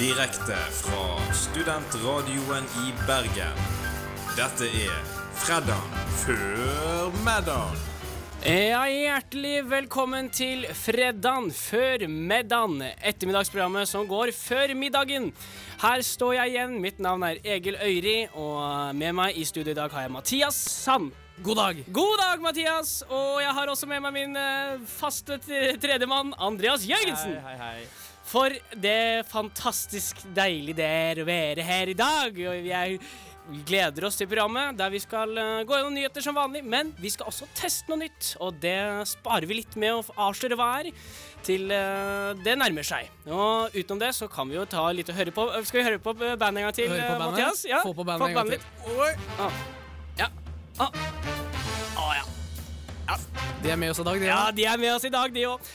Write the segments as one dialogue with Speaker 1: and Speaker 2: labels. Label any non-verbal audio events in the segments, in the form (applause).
Speaker 1: Direkte fra studentradioen i Bergen. Dette er Freddan før middag.
Speaker 2: Ja, hjertelig velkommen til Freddan før middagen. Ettermiddagsprogrammet som går før middagen. Her står jeg igjen. Mitt navn er Egil Øyri, og med meg i studio i dag har jeg Mathias Sand. God dag. God dag, Mathias. Og jeg har også med meg min eh, faste t- tredjemann, Andreas Jørgensen.
Speaker 3: Hei, hei, hei.
Speaker 2: For det fantastisk deilig det er å være her i dag. Og vi gleder oss til programmet der vi skal eh, gå gjennom nyheter som vanlig. Men vi skal også teste noe nytt, og det sparer vi litt med å f- avsløre hva er, til eh, det nærmer seg. Og utenom det så kan vi jo ta litt og høre på. Skal vi høre på eh, bandet en gang til,
Speaker 3: Høre på
Speaker 2: eh,
Speaker 3: bandet?
Speaker 2: Mathias?
Speaker 3: Få på bandet en gang
Speaker 2: litt. Ah. Ja. Ah. Ah, ja.
Speaker 3: De er med oss i dag, de.
Speaker 2: Ja,
Speaker 3: Ja.
Speaker 2: de er med oss i dag, de òg.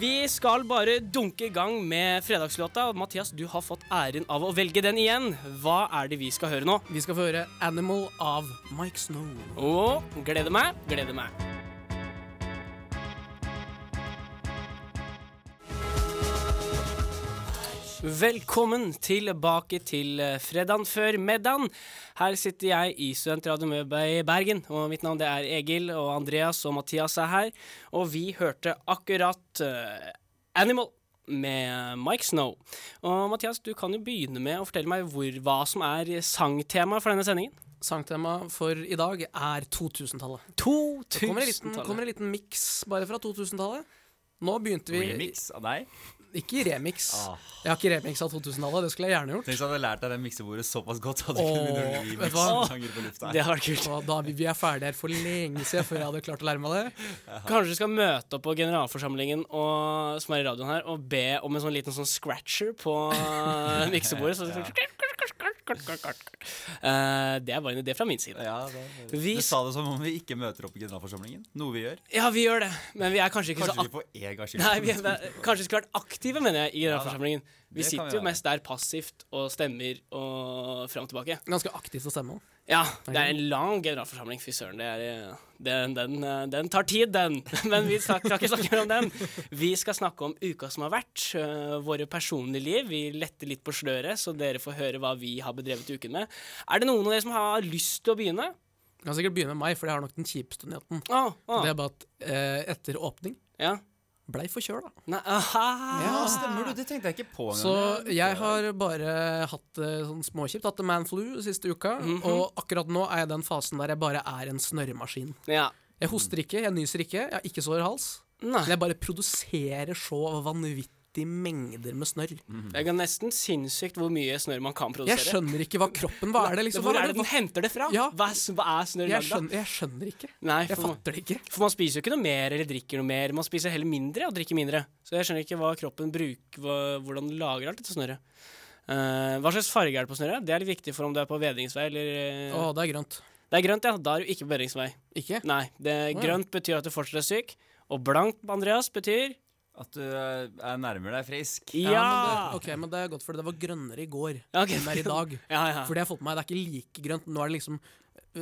Speaker 2: Vi skal bare dunke i gang med fredagslåta. Og Mathias, du har fått æren av å velge den igjen. Hva er det vi skal høre nå?
Speaker 3: Vi skal få høre 'Animal' av Mike Snow.
Speaker 2: Å, gleder meg, gleder meg. Velkommen tilbake til eh, fredagen før middagen. Her sitter jeg i Studentradioen med Be- Bergen, og mitt navn det er Egil, og Andreas og Mathias er her. Og vi hørte akkurat eh, Animal med Mike Snow. Og Mathias, du kan jo begynne med å fortelle meg hvor, hva som er sangtemaet for denne sendingen.
Speaker 3: Sangtema for i dag er 2000-tallet. Så Kommer en liten,
Speaker 2: 2000-tallet.
Speaker 3: kommer en liten miks bare fra 2000-tallet. Nå begynte vi
Speaker 4: Remix av deg?
Speaker 3: Ikke remix.
Speaker 4: Ah.
Speaker 3: Jeg har ikke remix av 2000-tallet. Det skulle jeg gjerne gjort.
Speaker 4: Tenk om du hadde lært deg det miksebordet såpass godt at du
Speaker 3: Åh,
Speaker 4: kunne begynne å
Speaker 3: vet du hva?
Speaker 4: remix-sanger på lufta.
Speaker 2: Det hadde vært kult.
Speaker 3: Og da, vi- vi er ferdige her for lenge siden før jeg hadde klart å lære meg det.
Speaker 2: Kanskje du skal møte opp på generalforsamlingen og, som er i radioen her, og be om en sånn liten sånn scratcher på eh, miksebordet. Så Eh, det er bare en idé fra min side.
Speaker 4: Ja, det-
Speaker 2: Vi-
Speaker 4: Du sa det som om vi ikke møter opp i generalforsamlingen. Noe vi gjør.
Speaker 2: Ja, vi gjør det, men vi er kanskje ikke
Speaker 4: Kanskje
Speaker 2: så
Speaker 4: vi
Speaker 2: ak
Speaker 4: på en gang skyld.
Speaker 2: Nei, vi er, Kanskje vi skulle vært aktive, mener jeg, i
Speaker 4: da.
Speaker 2: generalforsamlingen. Vi
Speaker 4: Det kan vi
Speaker 2: sitter jo
Speaker 4: være.
Speaker 2: mest der passivt og stemmer og fram og tilbake.
Speaker 3: Ganske aktivt å stemme.
Speaker 2: Ja, det er en lang generalforsamling. Fy søren, det er eh, den, den, eh, den tar tid, den. (laughs) Men vi skal skal ikke snakke mer om den. Vi skal snakke om uka som har vært. eh, Våre personlige liv. Vi letter litt på sløret, så dere får høre hva vi har bedrevet uken med. Er det noen av dere som har lyst til å begynne?
Speaker 3: Du kan sikkert begynne med meg, for jeg har nok den kjipeste nyheten.
Speaker 2: Å, å,
Speaker 3: Det er bare at eh, etter åpning
Speaker 2: ja.
Speaker 3: blei forkjøla.
Speaker 2: Nei, aha. Ah.
Speaker 4: Ja, stemmer du. Det tenkte jeg ikke på engang.
Speaker 3: Så jeg har bare hatt det sånn småkjipt. Hatt man flu siste uka.
Speaker 2: Mhm.
Speaker 3: Og akkurat nå er jeg i den fasen der jeg bare er en snørremaskin.
Speaker 2: Ja.
Speaker 3: Jeg hoster ikke, jeg nyser ikke, jeg har ikke sår hals. Men
Speaker 2: Nei.
Speaker 3: jeg bare produserer så vanvittige mengder med snørr.
Speaker 2: Det er nesten sinnssykt hvor mye snørr man kan
Speaker 3: Jeg
Speaker 2: produsere.
Speaker 3: skjønner ikke hva kroppen Hva er det, liksom?
Speaker 2: Hvor
Speaker 3: Hva
Speaker 2: er det den henter det fra?
Speaker 3: Ja.
Speaker 2: Hva er, s- hva er snørr
Speaker 3: jeg,
Speaker 2: lagd av?
Speaker 3: skjønner, jeg skjønner ikke.
Speaker 2: Nei,
Speaker 3: Jeg
Speaker 2: for man-
Speaker 3: fatter det ikke.
Speaker 2: For man spiser jo ikke noe mer eller drikker noe mer. Man spiser heller mindre og drikker mindre. Så jeg skjønner ikke hva kroppen bruker, hva- hvordan den lager alt dette snørret. Eh, hva slags farge er det på snørret? Det er litt viktig for om du er på vedringsvei eller eh,
Speaker 3: Å, det er grønt.
Speaker 2: Det er grønt, ja. Da er du ikke på vedringsvei.
Speaker 3: Ikke?
Speaker 2: Nei. Det,
Speaker 3: Å, ja.
Speaker 2: grønt betyr at du fortsatt er syk. Og blankt, Andreas, betyr
Speaker 4: At du eh, er nærmere deg frisk.
Speaker 2: Ja!
Speaker 3: men det, ok, men det er godt, for det var grønnere i går
Speaker 2: Ja, ok.
Speaker 3: enn det er i dag.
Speaker 2: (laughs) ja, ja.
Speaker 3: For det jeg har fått med meg, det er ikke like grønt. Nå er det liksom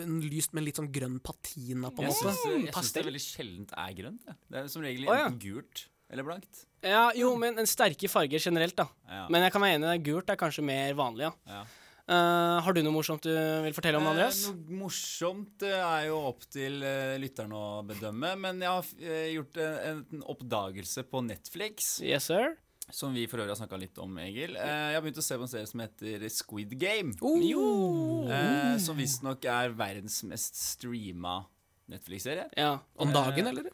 Speaker 3: en lyst, men litt sånn grønn patina, på en
Speaker 4: Jeg
Speaker 3: måte.
Speaker 4: syns, jeg syns
Speaker 2: pastell.
Speaker 4: det veldig sjeldent er grønt. jeg. Det er som regel
Speaker 2: Å, ja.
Speaker 4: enten gult eller blankt.
Speaker 2: ja, jo, men en sterke farger generelt, da.
Speaker 4: Ja.
Speaker 2: Men jeg kan være enig, det er gult er kanskje mer vanlig, ja.
Speaker 4: Ja.
Speaker 2: Eh, har du noe morsomt du vil fortelle om, Andreas?
Speaker 4: Eh, Noe morsomt eh, er jo opp til eh, lytteren å bedømme, men jeg har eh, gjort en, en oppdagelse på Netflix,
Speaker 2: Yes, sir.
Speaker 4: som vi for øvrig har snakka litt om, Egil. Eh, Jeg har begynt å se på en serie som heter Squid Game,
Speaker 3: Oh,
Speaker 4: eh, som visstnok er verdens mest streama Netflix-serie.
Speaker 2: Ja.
Speaker 3: Om dagen, eller?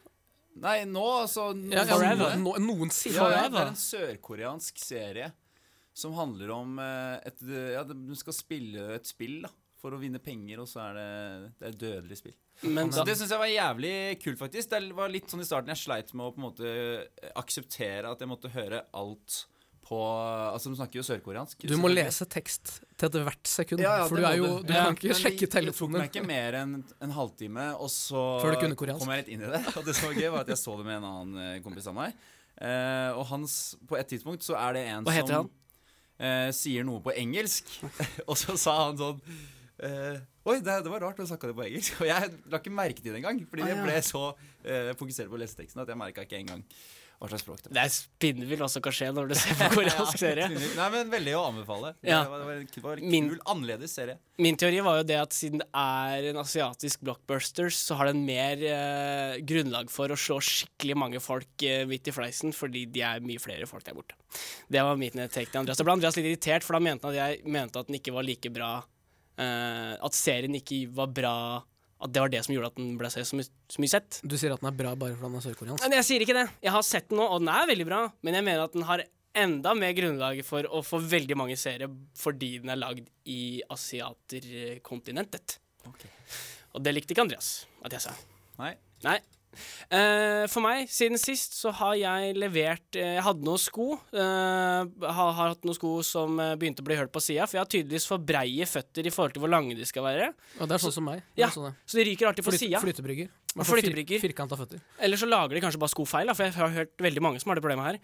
Speaker 4: Nei, nå, altså nå-
Speaker 3: Eh, Ja, ja,
Speaker 2: Forever.
Speaker 3: no, noensinne.
Speaker 4: Ja, ja, det
Speaker 3: Forever.
Speaker 4: er en sørkoreansk serie som handler om eh, et Ja, du skal spille et spill, da. For å vinne penger, og så er det, det er et dødelig spill.
Speaker 2: Men
Speaker 4: Så det syns jeg var jævlig kult, faktisk. Det var litt sånn i starten jeg sleit med å på en måte eh, akseptere at jeg måtte høre alt på Altså, de snakker jo sørkoreansk.
Speaker 3: Du må
Speaker 4: selvfølgelig.
Speaker 3: lese tekst til et hvert sekund,
Speaker 4: Ja, ja,
Speaker 3: for
Speaker 4: det
Speaker 3: du,
Speaker 4: må
Speaker 3: er jo,
Speaker 4: du.
Speaker 3: du
Speaker 2: Ja,
Speaker 3: kan ikke
Speaker 4: Men
Speaker 3: sjekke
Speaker 4: Det tok
Speaker 3: telefonen
Speaker 4: meg ikke
Speaker 3: din.
Speaker 4: mer enn en halvtime, og så
Speaker 3: Før du kunne koreansk.
Speaker 4: kom jeg litt inn i det. Og det som var gøy, var at jeg så det med en annen eh, kompis av meg. Eh, og hans, på et tidspunkt så er det en
Speaker 2: Hva heter
Speaker 4: som
Speaker 2: han?
Speaker 4: eh, sier noe på engelsk, (laughs) og så sa han sånn eh, Oi, det, det var rart du snakka det på engelsk. (laughs) Og jeg la ikke merke til det engang, fordi jeg ble så eh, fokusert på leseteksten at jeg merka ikke engang. hva slags språk det var.
Speaker 2: Det er spinnvill hva som kan skje (laughs) når du ser på koreansk serie.
Speaker 4: (laughs) Nei, men veldig å anbefale. Det
Speaker 2: Ja.
Speaker 4: var, det var en, det var en
Speaker 2: Min-
Speaker 4: kul, annerledes serie.
Speaker 2: Min teori var jo det at siden det er en asiatisk blockbusters, så har den mer eh, grunnlag for å slå skikkelig mange folk eh, midt i fleisen, fordi de er mye flere folk der borte. Det var mitt take til Andreas. Da ble Andreas litt irritert, for da mente han at jeg mente at den ikke var like bra eh, At serien ikke var bra At det var det som gjorde at den ble så, så, my så mye sett.
Speaker 3: Du sier at den er bra bare fordi den er sørkoreansk.
Speaker 2: Men jeg sier ikke det. Jeg har sett den nå, og den er veldig bra, men jeg mener at den har enda mer grunnlag for å få veldig mange seere fordi den er lagd i asiaterkontinentet. Og det likte ikke Andreas at jeg sa.
Speaker 4: Nei.
Speaker 2: Nei. Eh, for meg, siden sist, så har jeg levert eh, Jeg hadde noen sko. eh, har, har hatt noen sko som eh, begynte å bli hørt på sida, for jeg har tydeligvis for breie føtter i forhold til hvor lange de skal være.
Speaker 3: Og det er sånn som meg. Det er
Speaker 2: Ja,
Speaker 3: Sånn det.
Speaker 2: Så de ryker alltid på
Speaker 3: Flyt,
Speaker 2: sida.
Speaker 3: flytebrygger. Man får
Speaker 2: Flytebrygger.
Speaker 3: Fir, Firkanta føtter.
Speaker 2: Eller så lager de kanskje bare skofeil, da, for jeg har hørt veldig mange som har det problemet her.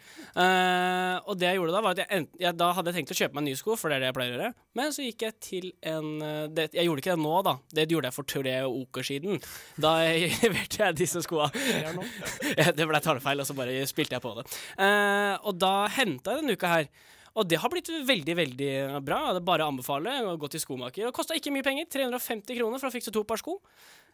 Speaker 2: Eh, og det jeg gjorde da, var at jeg, ent- jeg da hadde jeg tenkt å kjøpe meg nye sko, for det er det jeg pleier å gjøre. Men så gikk jeg til en eh, det, Jeg gjorde ikke det nå, da. Det gjorde jeg for tre uker siden. Da jeg (laughs) leverte jeg disse skoa. (laughs) Ja, det ble talefeil, og så bare spilte jeg på det. Eh, og da henta jeg denne uka her. Og det har blitt veldig veldig bra. Det er bare å anbefale å gå til skomaker. Og kosta ikke mye penger. 350 kroner for å fikse to par sko.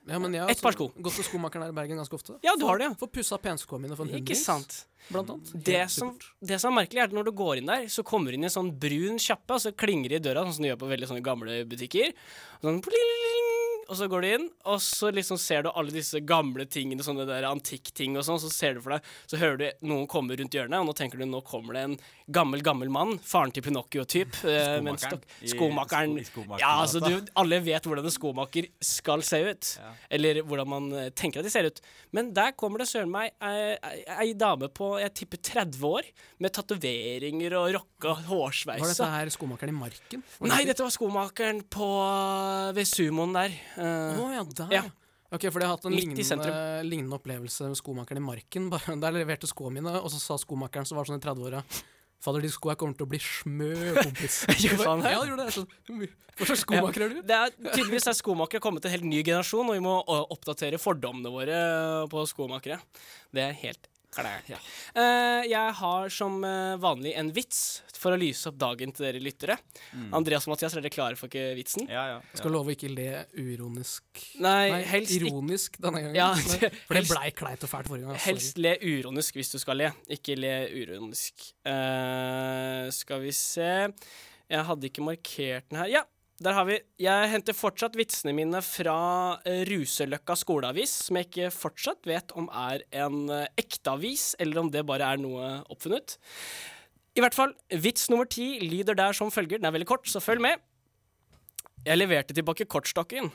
Speaker 3: Ja, men jeg har
Speaker 2: Et par
Speaker 3: også
Speaker 2: sko.
Speaker 3: gått til skomakeren her i Bergen ganske ofte.
Speaker 2: Ja, du har det, ja.
Speaker 3: Får pussa penskoene mine for en
Speaker 2: Ikke
Speaker 3: hundrings,
Speaker 2: sant?
Speaker 3: blant annet.
Speaker 2: Det
Speaker 3: Helt
Speaker 2: som,
Speaker 3: supert.
Speaker 2: det som er merkelig, er at når du går inn der, så kommer du inn i en sånn brun kjappe, og så klinger det i døra, sånn som du gjør på veldig sånne gamle butikker. Og, sånn, pling, og så går du inn, og så liksom ser du alle disse gamle tingene, sånne der antikkting og sånn, så ser du for deg, så hører du noen komme rundt hjørnet, og nå tenker du, nå kommer det en gammel, gammel mann, faren til Pinocchio-typ, eh, med en stokk.
Speaker 4: I-
Speaker 2: Skomakeren.
Speaker 4: i skomakeren,
Speaker 2: Ja, altså,
Speaker 4: altså.
Speaker 2: du, alle vet hvordan en skomaker skal se ut. Eller hvordan man eh, tenker at de ser ut. Men der kommer det søren meg ei, ei- ei dame på jeg tipper 30 år, med tatoveringer og rocka
Speaker 3: Var
Speaker 2: hårsveis.
Speaker 3: dette her skomakeren i Marken? Var
Speaker 2: Nei,
Speaker 3: det-
Speaker 2: dette var skomakeren på ved sumoen der.
Speaker 3: Å
Speaker 2: Eh,
Speaker 3: ja, der.
Speaker 2: Ja.
Speaker 3: Ok, for jeg har hatt en
Speaker 2: Midt i
Speaker 3: lignende,
Speaker 2: sentrum.
Speaker 3: lignende opplevelse med skomakeren i Marken. Bare, der leverte skoene mine, og så sa skomakeren som var sånn i 30-åra Fader, de skoa kommer til å bli smø, kompis.
Speaker 2: (laughs) Gjorde han det?
Speaker 3: Ja, han gjorde det. Så, hva slags skomaker er du?
Speaker 2: Det er, tydeligvis er skomakere kommet til en helt ny generasjon, og vi må å, oppdatere fordommene våre eh, på skomakere. Det er helt klart. Eh, jeg har som eh, vanlig en vits for å lyse opp dagen til dere lyttere. Andreas og Mathias, er dere klare for ikke vitsen?
Speaker 4: Ja, ja. ja.
Speaker 3: Skal love å ikke le uironisk.
Speaker 2: Nei, helst ikke.
Speaker 3: ironisk denne gangen.
Speaker 2: Ja,
Speaker 3: Nei, for det
Speaker 2: helst-
Speaker 3: blei kleint og fælt forrige gang.
Speaker 2: Helst le uironisk hvis du skal le. Ikke le uironisk. Eh, skal vi se Jeg hadde ikke markert den her. Ja, der har vi. Jeg henter fortsatt vitsene mine fra eh, Ruseløkka skoleavis, som jeg ikke fortsatt vet om er en eh, ekte avis, eller om det bare er noe oppfunnet. I hvert fall, vits nummer ti lyder der som følger. Den er veldig kort, så følg med. Jeg leverte tilbake kortstokken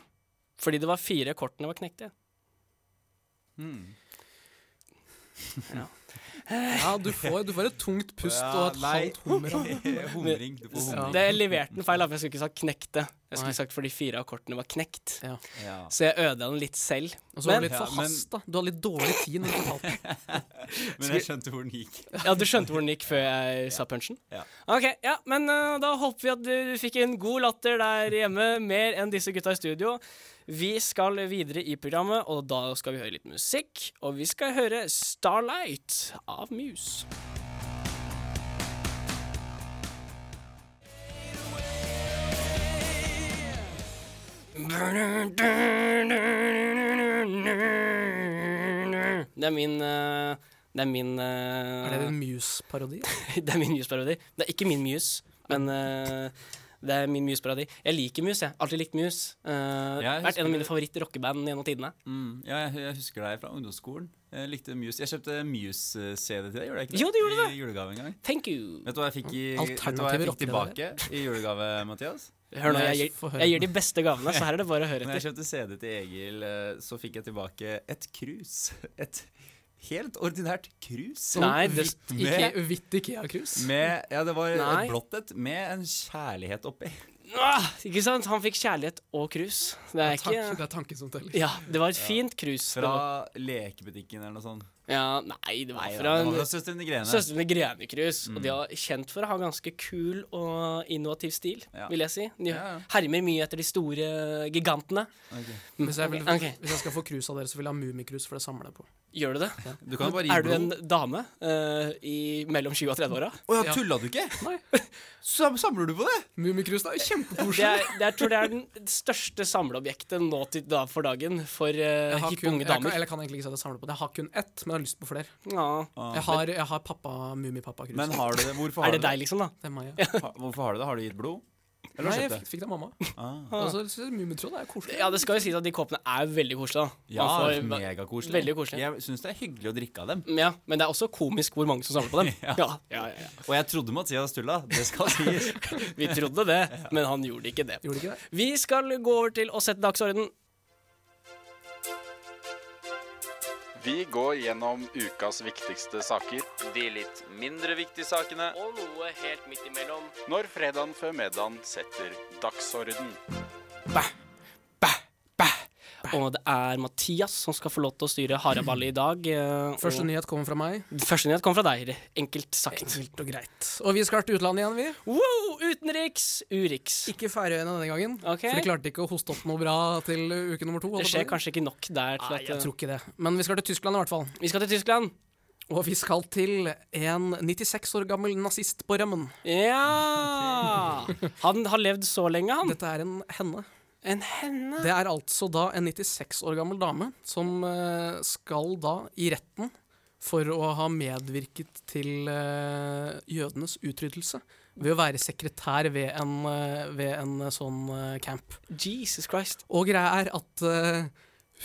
Speaker 2: fordi det var fire kortene var knekt i.
Speaker 4: Mm.
Speaker 3: Sorry. Ja, du får, du får et tungt pust
Speaker 4: Ja,
Speaker 3: og et
Speaker 4: nei.
Speaker 3: halvt hummer. av det.
Speaker 4: (laughs)
Speaker 2: (laughs)
Speaker 4: Humring. Du får
Speaker 3: Ja.
Speaker 4: humring.
Speaker 2: Det jeg leverte den feil, da, for jeg skulle ikke sagt knekte. Jeg
Speaker 3: Nei.
Speaker 2: skulle sagt fordi fire av kortene var knekt.
Speaker 3: Ja.
Speaker 4: Ja.
Speaker 2: (laughs) Så jeg ødela den litt selv.
Speaker 3: Og så var
Speaker 2: Men,
Speaker 3: det litt
Speaker 4: Ja, men-
Speaker 3: forhasta. Du har litt dårlig tid når du fortalte
Speaker 2: (laughs)
Speaker 3: det.
Speaker 4: Men jeg skjønte hvor den gikk.
Speaker 2: ja, Du skjønte hvor den gikk før jeg sa punchen?
Speaker 4: Ja.
Speaker 2: Ok, ja, Men eh, da håper vi at du fikk en god latter der hjemme. Mer enn disse gutta i studio. Vi skal videre i programmet, og da skal vi høre litt musikk. Og vi skal høre 'Starlight' av Muse. Det er min eh, Det er min eh,
Speaker 3: Er det en Muse-parodi?
Speaker 2: (laughs) det er min Muse-parodi. Det er ikke min Muse, men eh, det er min Muse-parodi. Jeg liker Muse, jeg. Alltid likt Muse. Eh,
Speaker 4: Jeg
Speaker 2: vært en av
Speaker 4: husker-
Speaker 2: mine favoritt-rockeband gjennom tidene.
Speaker 4: Mm. Ja, jeg, jeg husker deg fra ungdomsskolen. Jeg likte Muse. Jeg kjøpte Muse-CD til deg, gjorde jeg ikke det?
Speaker 2: Jo, du gjorde det.
Speaker 4: I julegave en gang.
Speaker 2: Thank you!
Speaker 4: Vet du hva jeg fikk, i, vet du hva jeg
Speaker 3: Alternative
Speaker 4: fikk tilbake i julegave, Mathias?
Speaker 2: Hør nå,
Speaker 3: Nei,
Speaker 2: jeg,
Speaker 3: få
Speaker 2: gir-
Speaker 3: høre.
Speaker 2: jeg gir de beste
Speaker 4: (laughs)
Speaker 2: gavene, så her er det bare å høre
Speaker 4: Når jeg
Speaker 2: etter.
Speaker 4: kjøpte CD til Egil, eh, så fikk jeg tilbake et krus. (laughs) Et helt ordinært krus.
Speaker 2: Nei, det,
Speaker 4: Med-
Speaker 3: Ikke Sånn hvitt Ikea-krus?
Speaker 4: Med, ja, det var
Speaker 2: Nei.
Speaker 4: et blått et med en kjærlighet oppi.
Speaker 2: Ah, ikke sant? Han fikk kjærlighet og krus. Det er
Speaker 3: Tanken-
Speaker 2: ikke
Speaker 3: Det er tanken som teller.
Speaker 2: Ja, det var et fint krus. Det var-
Speaker 4: Fra lekebutikken eller noe sånt.
Speaker 2: Ja, nei, det var
Speaker 4: Nei,
Speaker 2: fra
Speaker 4: det
Speaker 2: en
Speaker 4: var fra Mm. Søstrene Grene.
Speaker 2: Søstrene Grene-Krus. Og de er kjent for å ha ganske kul og innovativ stil,
Speaker 4: Ja.
Speaker 2: vil jeg si. De
Speaker 4: Ja, ja.
Speaker 2: hermer mye etter de store gigantene.
Speaker 4: Ok.
Speaker 3: Hvis jeg, vil,
Speaker 2: Ok.
Speaker 3: hvis jeg skal få krus av dere, så vil jeg ha Mummikrus, for det samler jeg på.
Speaker 2: Gjør du det?
Speaker 4: Du kan bare gi
Speaker 2: Er du en
Speaker 4: blod.
Speaker 2: dame eh, i mellom 20 og 30-åra?
Speaker 4: Å ja,
Speaker 3: Ja.
Speaker 4: tulla du (laughs) ikke? Sam- Samler du på det?
Speaker 3: Mummikrus er
Speaker 2: Det
Speaker 3: kjempekoselig.
Speaker 2: er, det er, jeg tror det er den største samleobjektet nå til da for dagen for eh,
Speaker 3: Jeg har
Speaker 2: hippe
Speaker 3: kun-
Speaker 2: unge
Speaker 3: Jeg kan,
Speaker 2: damer.
Speaker 3: eller jeg kan egentlig ikke si at jeg samler på det. Jeg har kun ett, men jeg har lyst på flere.
Speaker 2: Ja.
Speaker 3: Jeg har, jeg har pappa, Mummipappa-krus.
Speaker 4: Ah. Men har du det? Hvorfor har
Speaker 2: Er det
Speaker 4: du
Speaker 2: deg, liksom, da?
Speaker 3: Det er meg, ja.
Speaker 4: Ha- Hvorfor har du det? Har du gitt blod? Eller
Speaker 3: Nei,
Speaker 4: har du
Speaker 3: jeg fikk,
Speaker 4: kjøpt det?
Speaker 3: fikk det av mamma.
Speaker 4: Ah.
Speaker 3: Og så syns jeg Mummitråd er koselig.
Speaker 2: Ja, det skal jo sies at de kåpene er veldig koselige. da.
Speaker 4: Ja,
Speaker 2: Man får-
Speaker 4: megakoselig.
Speaker 2: Veldig koselig.
Speaker 4: Altså, Jeg syns det er hyggelig å drikke av dem.
Speaker 2: ja, men det er også komisk hvor mange som samler på dem. ja. Ja, ja, ja.
Speaker 4: Og jeg trodde Mathias tulla. (laughs) Det skal sies.
Speaker 2: Vi trodde det, men han gjorde ikke det.
Speaker 3: Gjorde det ikke det?
Speaker 2: Vi skal gå over til å sette dagsorden.
Speaker 5: Vi går gjennom ukas viktigste saker.
Speaker 6: De litt mindre viktige sakene
Speaker 2: Og noe helt midt imellom.
Speaker 5: Når fredagen før middagen setter dagsorden.
Speaker 2: Og det er Mathias som skal få lov til å styre haraballet i dag. eh, og-
Speaker 3: Første nyhet kommer fra meg.
Speaker 2: Første nyhet kom fra deg, enkelt sagt.
Speaker 3: Enkelt og greit. Og vi skal til utlandet igjen, vi.
Speaker 2: Wow, utenriks, Urix.
Speaker 3: Ikke Færøyene denne gangen.
Speaker 2: Ok.
Speaker 3: For de klarte ikke å hoste opp noe bra til uh, uke nummer to.
Speaker 2: Det
Speaker 3: holdt
Speaker 2: skjer
Speaker 3: jeg på å si.
Speaker 2: kanskje ikke nok der til
Speaker 3: Nei, jeg
Speaker 2: at
Speaker 3: tror ikke det. Men vi skal til Tyskland i hvert fall.
Speaker 2: Vi skal til Tyskland.
Speaker 3: Og vi skal til en 96 år gammel nazist på rømmen. (laughs)
Speaker 2: Ja! Han har levd så lenge, han.
Speaker 3: Dette er en henne.
Speaker 2: En henne.
Speaker 3: Det er altså da en 96 år gammel dame som eh, skal da i retten for å ha medvirket til eh, jødenes utryddelse ved å være sekretær ved en, eh, ved en eh, sånn eh, camp.
Speaker 2: Jesus Christ.
Speaker 3: Og greia er at eh,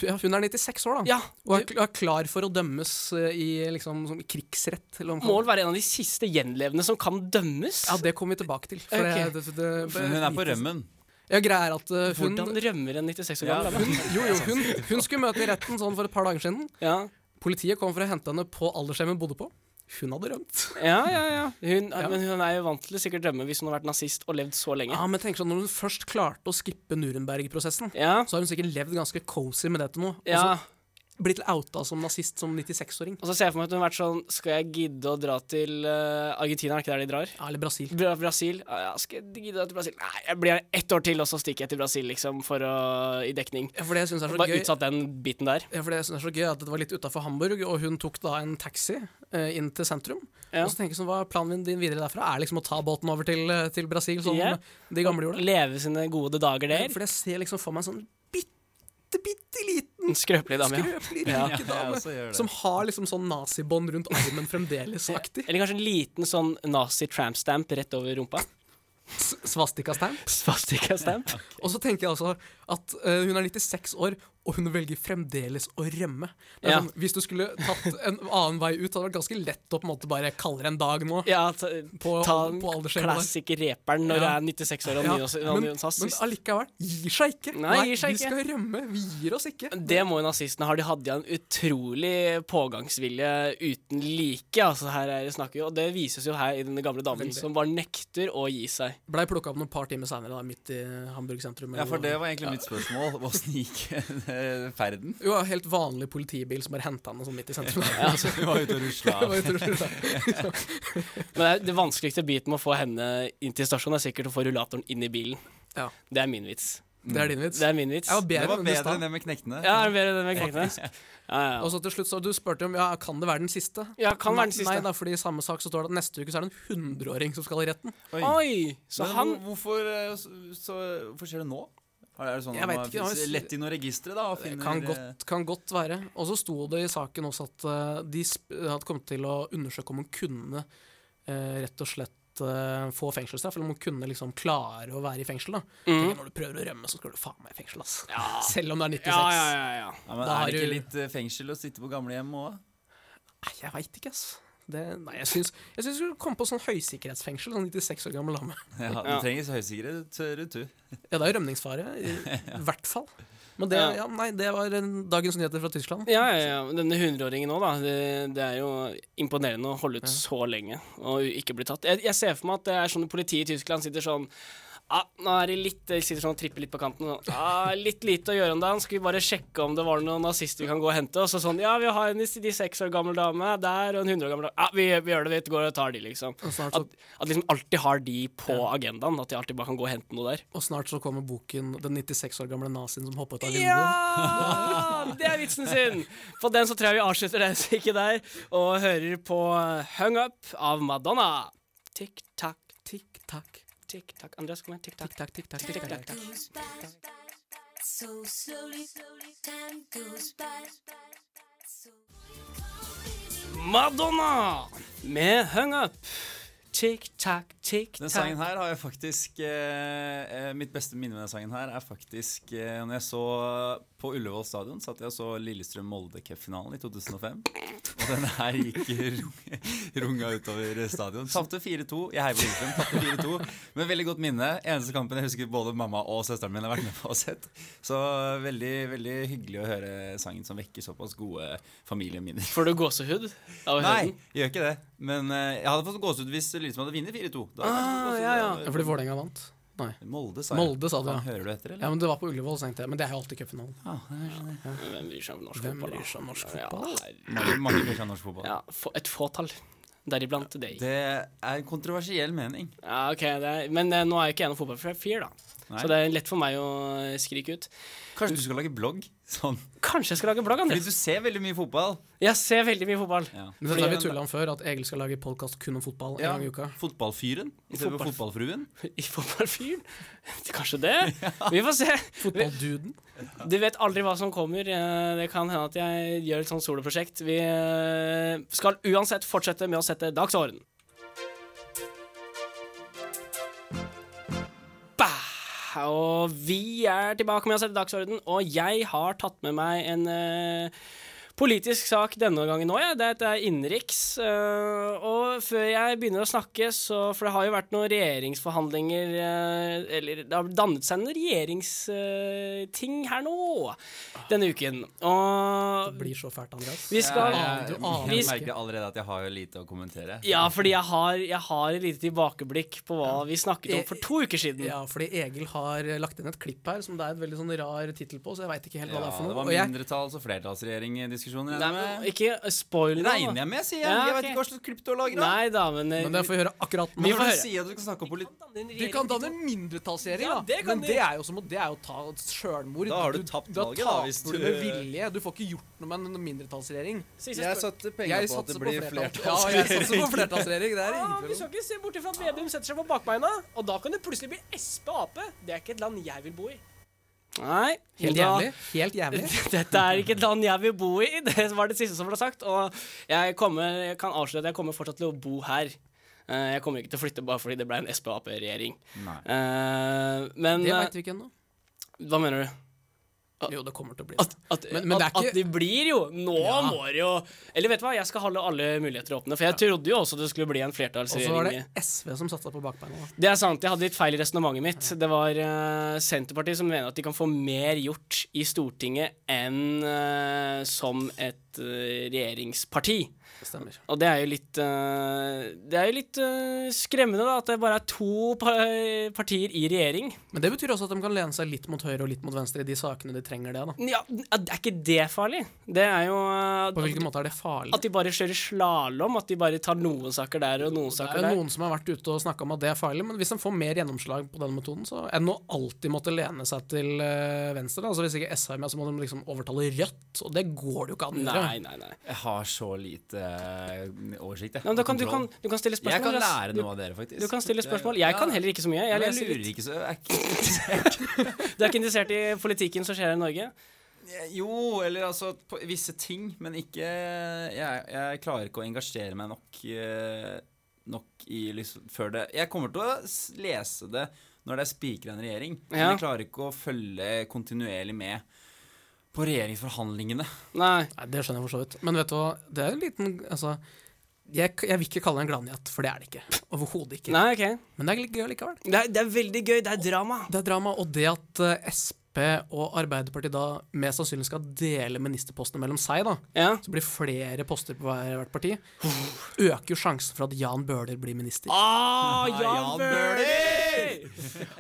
Speaker 3: ja, hun er 96 år, da.
Speaker 2: Ja,
Speaker 3: Og er, er klar for å dømmes eh, i liksom, som krigsrett.
Speaker 2: Må
Speaker 3: Eller hva man kaller det.
Speaker 2: vel være en av de siste gjenlevende som kan dømmes?
Speaker 3: Ja, det kommer vi tilbake til. For
Speaker 2: Ok.
Speaker 3: det, det, det,
Speaker 4: Hun er på rømmen.
Speaker 3: Ja, greia er at eh, hun,
Speaker 2: Hvordan rømmer en 96 år
Speaker 4: Ja,
Speaker 2: gammel dame?
Speaker 3: jo, jo, hun, hun skulle møte i retten sånn for et par dager siden.
Speaker 2: Ja.
Speaker 3: Politiet kom for å hente henne på aldershjemmet hun bodde på. Hun hadde rømt.
Speaker 2: Ja, ja, ja. Hun,
Speaker 3: Ja.
Speaker 2: Men hun er jo vant til å sikkert dømme hvis hun har vært nazist og levd så lenge.
Speaker 3: Ja, men tenk sånn, Når hun først klarte å skippe Nurenberg-prosessen,
Speaker 2: Ja.
Speaker 3: så har hun sikkert levd ganske cozy med det til nå.
Speaker 2: ja.
Speaker 3: Og så blitt outa som nazist som 96-åring.
Speaker 2: Og så ser jeg for meg at hun har vært sånn Skal jeg gidde å dra til eh, Argentina? Er ikke der de drar?
Speaker 3: Ja, eller Brasil.
Speaker 2: Bra Brasil? Ja, ja, skal jeg gidde å dra til Brasil? Nei, jeg blir her ett år til, og så stikker jeg til Brasil, liksom, for å, i dekning.
Speaker 3: Ja, for det jeg synes er så
Speaker 2: Bare
Speaker 3: gøy
Speaker 2: utsatt den biten der.
Speaker 3: Ja, for det jeg synes er så gøy er at det var litt utafor Hamburg, og hun tok da en taxi eh, inn til sentrum.
Speaker 2: Ja.
Speaker 3: Og så tenker jeg sånn, Hva er planen din videre derfra? Er liksom å ta båten over til, eh, til Brasil, som
Speaker 2: Ja.
Speaker 3: de gamle gjorde?
Speaker 2: Leve sine gode dager
Speaker 3: Ja,
Speaker 2: der.
Speaker 3: For jeg ser liksom for meg en sånn bitte, bitte liten
Speaker 2: En skrøpelig dame, ja.
Speaker 3: skrøpelig
Speaker 2: Ja.
Speaker 3: rike
Speaker 4: Ja, jeg
Speaker 3: dame
Speaker 4: også gjør det.
Speaker 3: som har liksom sånn nazibånd rundt armen fremdeles-aktig.
Speaker 2: Eller kanskje en liten sånn nazi-tramp-stamp rett over rumpa. (laughs)
Speaker 3: S- Svastikastein.
Speaker 2: Svastika-stamp.
Speaker 3: Og så tenker jeg altså at eh, hun er 96 år, og hun velger fremdeles å rømme. Det er
Speaker 2: Ja.
Speaker 3: sånn, hvis du skulle tatt en annen vei ut, hadde det vært ganske lett å på en måte bare kalle det en dag nå.
Speaker 2: Ja, ta,
Speaker 3: På,
Speaker 2: ta
Speaker 3: på aldersskjemaet der.
Speaker 2: klassiker-reperen når
Speaker 3: Ja.
Speaker 2: jeg er 96 år og
Speaker 3: Ja,
Speaker 2: nyhås- og
Speaker 3: men, men
Speaker 2: nyhåsast.
Speaker 3: allikevel gir seg ikke.
Speaker 2: Nei, gir seg
Speaker 3: vi
Speaker 2: ikke.
Speaker 3: skal rømme. Vi gir oss ikke.
Speaker 2: Det må jo nazistene ha. De hadde ja en utrolig pågangsvilje uten like. Altså, her er det snakk jo, og det vises jo her i denne gamle damen
Speaker 3: Veldig.
Speaker 2: som bare nekter å gi seg.
Speaker 3: Blei plukka opp noen par timer seinere, midt i Hamburg sentrum.
Speaker 4: Ja, for det var egentlig mitt spørsmål. Åssen gikk eh, ferden?
Speaker 3: Jo, helt vanlig politibil som bare henta henne sånn midt i
Speaker 2: (laughs)
Speaker 3: sentrum. (laughs)
Speaker 4: Hun Altså, var ute og (laughs) rusla.
Speaker 3: Det var utrolig rart.
Speaker 2: Men det, er- det vanskeligste biten med å få henne inn til stasjonen, er sikkert å få rullatoren inn i bilen.
Speaker 3: Ja.
Speaker 2: Det er min vits.
Speaker 3: det er din vits.
Speaker 2: Det er min vits.
Speaker 3: Jeg var
Speaker 4: Det
Speaker 3: bedre
Speaker 4: var
Speaker 3: enn den i
Speaker 4: bedre enn
Speaker 3: stad.
Speaker 4: det med knektene.
Speaker 2: Ja, er det bedre enn med krenkene? Ja, ja.
Speaker 3: Og så til slutt, så du spurte om ja, kan det være den siste.
Speaker 2: ja, kan være den siste.
Speaker 3: Nei, da, fordi i samme sak så står det at neste uke så er det en 100-åring som skal i retten.
Speaker 2: Oi! Så
Speaker 4: Men
Speaker 2: han
Speaker 4: hvor- hvorfor, eh, så, så, hvorfor skjer det nå? Er det sånn
Speaker 3: Jeg
Speaker 4: at
Speaker 3: vet
Speaker 4: man
Speaker 3: ikke, han
Speaker 4: finnes
Speaker 3: s-
Speaker 4: lett i noen registre, da? Og
Speaker 3: Det
Speaker 4: finner,
Speaker 3: kan
Speaker 4: eh,
Speaker 3: godt, kan godt være. Og så sto det i saken også at eh, de sp hadde kommet til å undersøke om hun kunne eh, rett og slett eh, få fengselsstraff, eller om hun kunne liksom klare å være i fengsel. da
Speaker 2: Mm.
Speaker 3: Tenk, Når du prøver å rømme, så skal du faen meg i fengsel, ass. Selv om du er 96.
Speaker 2: Ja, ja, ja. ja.
Speaker 4: Ja, men
Speaker 3: Da
Speaker 4: er
Speaker 3: har
Speaker 4: det ikke
Speaker 3: du-
Speaker 4: litt eh, fengsel å sitte på gamlehjem òg?
Speaker 3: Nei, jeg veit ikke, ass. Det, nei, jeg syns jeg syns du skulle komme på sånn høysikkerhetsfengsel, sånn 96 år gammel dame.
Speaker 4: Ja, du
Speaker 2: Ja.
Speaker 4: trenger høysikkerhet retur.
Speaker 3: Ja, det er jo rømningsfare,
Speaker 2: (laughs)
Speaker 3: i hvert fall. Men det,
Speaker 2: Ja.
Speaker 3: ja, nei, det var en dagens nyheter fra Tyskland.
Speaker 2: Ja, ja, ja. men Denne hundreåringen òg, da. Det, det er jo imponerende å holde ut så lenge og ikke bli tatt. Jeg, jeg ser for meg at det er sånn politiet i Tyskland sitter sånn Ja, nå er det litt Jeg sitter sånn og tripper litt på kanten. Sånn. Ja, litt lite å gjøre om dagen. Skal vi bare sjekke om det var noen nazister vi kan gå og hente? Og så sånn Ja, vi har en 96 år gammel dame der og en 100 år gammel dame. Ja, vi, vi gjør det, vi går og tar de, liksom.
Speaker 3: Og snart så-
Speaker 2: At, at liksom alltid har de på agendaen. At de alltid bare kan gå og hente noe der.
Speaker 3: Og snart så kommer boken 'Den 96 år gamle nazien som hoppet ut av vinduet'.
Speaker 2: Ja! Det er vitsen sin! På den så tror jeg vi avslutter den stykket der, og hører på Hung Up av Madonna. Tikk-takk, tikk-takk, tikk-takk. Andreas, kom igjen. Tikk-takk,
Speaker 3: Tikk, takk, tikk, takk, tikk, takk,
Speaker 2: tikk-takk.
Speaker 3: takk.
Speaker 7: goes by so slowly. Time goes by so.
Speaker 2: Madonna med Hung Up. Tick tack, tick
Speaker 4: Den
Speaker 2: tack.
Speaker 4: sangen her har jeg faktisk eh, eh, Mitt beste minne med den sangen her er faktisk eh, Når jeg så på Ullevål stadion, satt jeg og så Lillestrøm-Molde-cupfinalen i 2005. Og den her gikk rung- (laughs) runga utover stadion. Tapte 4-2. Jeg heier på Lillestrøm. Tapte 4-2. Men veldig godt minne. Eneste kampen jeg husker både mamma og søsteren min har vært med på og sett. Så veldig, veldig hyggelig å høre sangen som vekker såpass gode familieminner.
Speaker 2: Får du gåsehud av å høre
Speaker 4: Nei,
Speaker 2: den?
Speaker 4: jeg gjør ikke det. Men eh, jeg hadde fått gåsehud hvis Lillestrøm hadde vunnet 4-2. Da hadde jeg fått gåsehud.
Speaker 2: Ah, ja, ja.
Speaker 4: Da-
Speaker 3: Ja, fordi Vålerenga vant? Nei.
Speaker 4: Molde, sa
Speaker 3: Molde,
Speaker 4: jeg.
Speaker 3: sa du,
Speaker 4: Faen,
Speaker 3: ja.
Speaker 4: Hører du etter,
Speaker 3: Ja,
Speaker 4: eller? Ah,
Speaker 3: men Det var på Ullevål, så tenkte jeg. Men det er jo alltid cupfinalen.
Speaker 2: Hvem bryr seg om norsk
Speaker 3: Hvem
Speaker 2: fotball? da?
Speaker 3: bryr seg om norsk
Speaker 2: Ja,
Speaker 3: fotball?
Speaker 2: herre-
Speaker 4: Mange, mange bryr seg om norsk fotball.
Speaker 2: Ja, få- et fåtall. Deriblant deg.
Speaker 4: Det er en kontroversiell mening.
Speaker 2: Ja, ok, det er, Men eh, nå er jeg ikke jeg noen fotballfyr, da.
Speaker 4: Nei.
Speaker 2: Så det er lett for meg å eh, skrike ut.
Speaker 4: Kanskje du skal lage blogg? Sånn.
Speaker 2: Kanskje jeg skal lage blogg,
Speaker 4: Fordi
Speaker 2: Andreas.
Speaker 4: du ser veldig mye fotball.
Speaker 2: Jeg ser veldig mye fotball. (laughs)
Speaker 4: Ja.
Speaker 3: Men dette har vi tullet om før, at Egil skal lage podkast kun om fotball en
Speaker 4: Ja,
Speaker 3: gang i uka.
Speaker 4: Fotballfyren istedenfor
Speaker 2: Fotball-
Speaker 4: fotballfruen.
Speaker 2: I fotballfyren? (laughs) Kanskje det? Vi får se.
Speaker 3: Fotballduden.
Speaker 2: Du vet aldri hva som kommer. Eh, Det kan hende at jeg gjør et sånt soloprosjekt. Vi eh, skal uansett fortsette med å sette dagsorden. Bah! Og vi er tilbake med å sette dagsorden, og jeg har tatt med meg en eh, politisk sak denne gangen òg, jeg. Dette er innenriks. eh, og før jeg begynner å snakke, så For det har jo vært noen regjeringsforhandlinger eh, Eller det har dannet seg noen regjeringsting eh, her nå denne uken. Og
Speaker 3: Blir så fælt, Andreas.
Speaker 2: vi skal
Speaker 4: Jeg, jeg,
Speaker 3: aner
Speaker 4: jeg
Speaker 3: ikke.
Speaker 4: merker allerede at jeg har lite å kommentere.
Speaker 2: Ja, fordi jeg har, jeg har et lite tilbakeblikk på hva vi snakket om for to uker siden.
Speaker 3: Ja, fordi Egil har eh, lagt inn et klipp her som det er et veldig sånn rar tittel på, så jeg veit ikke helt hva
Speaker 4: Ja,
Speaker 3: det er for
Speaker 4: det
Speaker 3: noe.
Speaker 4: var
Speaker 3: Og jeg,
Speaker 4: mindretalls- og flertallsregjering-diskusjoner.
Speaker 2: Nei,
Speaker 4: regner jeg
Speaker 2: men
Speaker 4: med.
Speaker 2: ikke spoil
Speaker 4: Regner
Speaker 2: nå.
Speaker 4: jeg med, sier jeg.
Speaker 2: Ja,
Speaker 4: Jeg vet
Speaker 2: ok.
Speaker 4: ikke hva slags klipp du har lagra.
Speaker 2: Nei da, men, eh,
Speaker 3: men det får vi høre akkurat nå.
Speaker 2: Vi får
Speaker 4: Du
Speaker 2: høre.
Speaker 4: sier at du skal snakke om politikk.
Speaker 3: Du kan danne mindretallsregjering,
Speaker 2: Ja,
Speaker 3: da.
Speaker 2: det kan
Speaker 3: men
Speaker 2: de.
Speaker 3: det er jo som å, det er jo å ta sjølmord.
Speaker 4: Da har du tapt valget, da, hvis
Speaker 3: taper du
Speaker 4: du-
Speaker 3: med vilje. Du får ikke gjort noe med en mindretallsregjering.
Speaker 2: Siste
Speaker 4: Jeg
Speaker 2: spørsmål.
Speaker 4: satte penger
Speaker 3: Jeg
Speaker 4: på at det
Speaker 3: satser på
Speaker 4: blir
Speaker 3: flertall. Ja, jeg (laughs)
Speaker 4: flertallsregjering.
Speaker 3: satser på flertallsregjering. Det er
Speaker 2: Ja,
Speaker 3: ingen
Speaker 2: vi
Speaker 3: tvil om.
Speaker 2: skal ikke se bort ifra at Vedum setter seg på bakbeina, og da kan det plutselig bli SP Ap. Det er ikke et land jeg vil bo i. Nei.
Speaker 3: Helt jævlig. Helt jævlig.
Speaker 2: (laughs) Dette er ikke et land jeg vil bo i. (laughs) Det var det siste som ble sagt. Og jeg, kommer, jeg kan avsløre at jeg kommer fortsatt til å bo her. Eh, Jeg kommer ikke til å flytte bare fordi det ble en SP Ap-regjering. Men
Speaker 3: Det
Speaker 2: eh,
Speaker 3: veit vi ikke ennå.
Speaker 2: hva mener du?
Speaker 3: Jo, det kommer til å bli
Speaker 2: At,
Speaker 3: det.
Speaker 2: at,
Speaker 3: Men- men det er
Speaker 2: at, at
Speaker 3: ikke-
Speaker 2: de blir jo Nå
Speaker 3: Ja.
Speaker 2: må det jo Eller vet du hva, jeg skal holde alle muligheter åpne. For jeg trodde jo også det skulle bli en
Speaker 3: Og så var
Speaker 2: flertallsregjering.
Speaker 3: det SV som satsa på bakbeina. da.
Speaker 2: Det er sant. Jeg hadde litt feil i resonnementet mitt. Det var eh, Senterpartiet som mener at de kan få mer gjort i Stortinget enn eh, som et eh, regjeringsparti.
Speaker 3: Det stemmer.
Speaker 2: Og det er jo litt eh, Det er jo litt eh, skremmende, da, at det bare er to pa partier i regjering.
Speaker 3: Men det betyr også at de kan lene seg litt mot høyre og litt mot venstre i de sakene de trenger det. da
Speaker 2: Ja, er ikke det farlig? Det er jo eh,
Speaker 3: På hvilken måte er det farlig?
Speaker 2: At de bare kjører slalåm, at de bare tar noen saker der og noen
Speaker 3: Det
Speaker 2: saker
Speaker 3: er jo
Speaker 2: der.
Speaker 3: noen som har vært ute og snakka om at det er farlig, men hvis de får mer gjennomslag på den metoden, så enn å alltid måtte lene seg til eh, venstre. Da. Altså Hvis ikke SV er med, så må de liksom overtale Rødt, og det går det jo ikke an å gjøre.
Speaker 2: Nei, nei, nei.
Speaker 4: Jeg har så lite eh, oversikt. Jeg.
Speaker 2: Nei, men da kan, du,
Speaker 4: Kontroll.
Speaker 2: kan, du kan stille spørsmål.
Speaker 4: jeg kan
Speaker 2: Andreas.
Speaker 4: lære
Speaker 2: Du-
Speaker 4: noe av dere, faktisk.
Speaker 2: Du kan stille spørsmål. Jeg kan heller ikke så mye. Jeg
Speaker 4: jeg,
Speaker 2: leser
Speaker 4: lurer
Speaker 2: litt.
Speaker 4: ikke så jeg er ikke-
Speaker 2: Du er ikke interessert i politikken som skjer her i Norge?
Speaker 4: Jo, eller altså på visse ting, men ikke Jeg, jeg klarer ikke å engasjere meg nok, eh, nok i liksom Før det Jeg kommer til å s- lese det når det er spikra en regjering, men
Speaker 2: Ja.
Speaker 4: jeg klarer ikke å følge kontinuerlig med på regjeringsforhandlingene.
Speaker 2: Nei.
Speaker 3: Nei, Det skjønner jeg for så vidt. Men vet du hva, det er en liten Altså, jeg, jeg vil ikke kalle det en gladnyhet, for det er det ikke. Overhodet ikke.
Speaker 2: Nei, ok.
Speaker 3: Men det er litt gøy likevel.
Speaker 2: Det er, det er veldig gøy. Det er drama.
Speaker 3: Det er drama, og det at eh, Sp og Arbeiderpartiet da mest sannsynlig skal dele ministerpostene mellom seg, da,
Speaker 2: Ja.
Speaker 3: så blir flere poster på hver- hvert parti,
Speaker 4: Ah,
Speaker 3: øker jo sjansen for at Jan Bøhler blir minister.
Speaker 2: Ah,
Speaker 4: Jan Bøhler!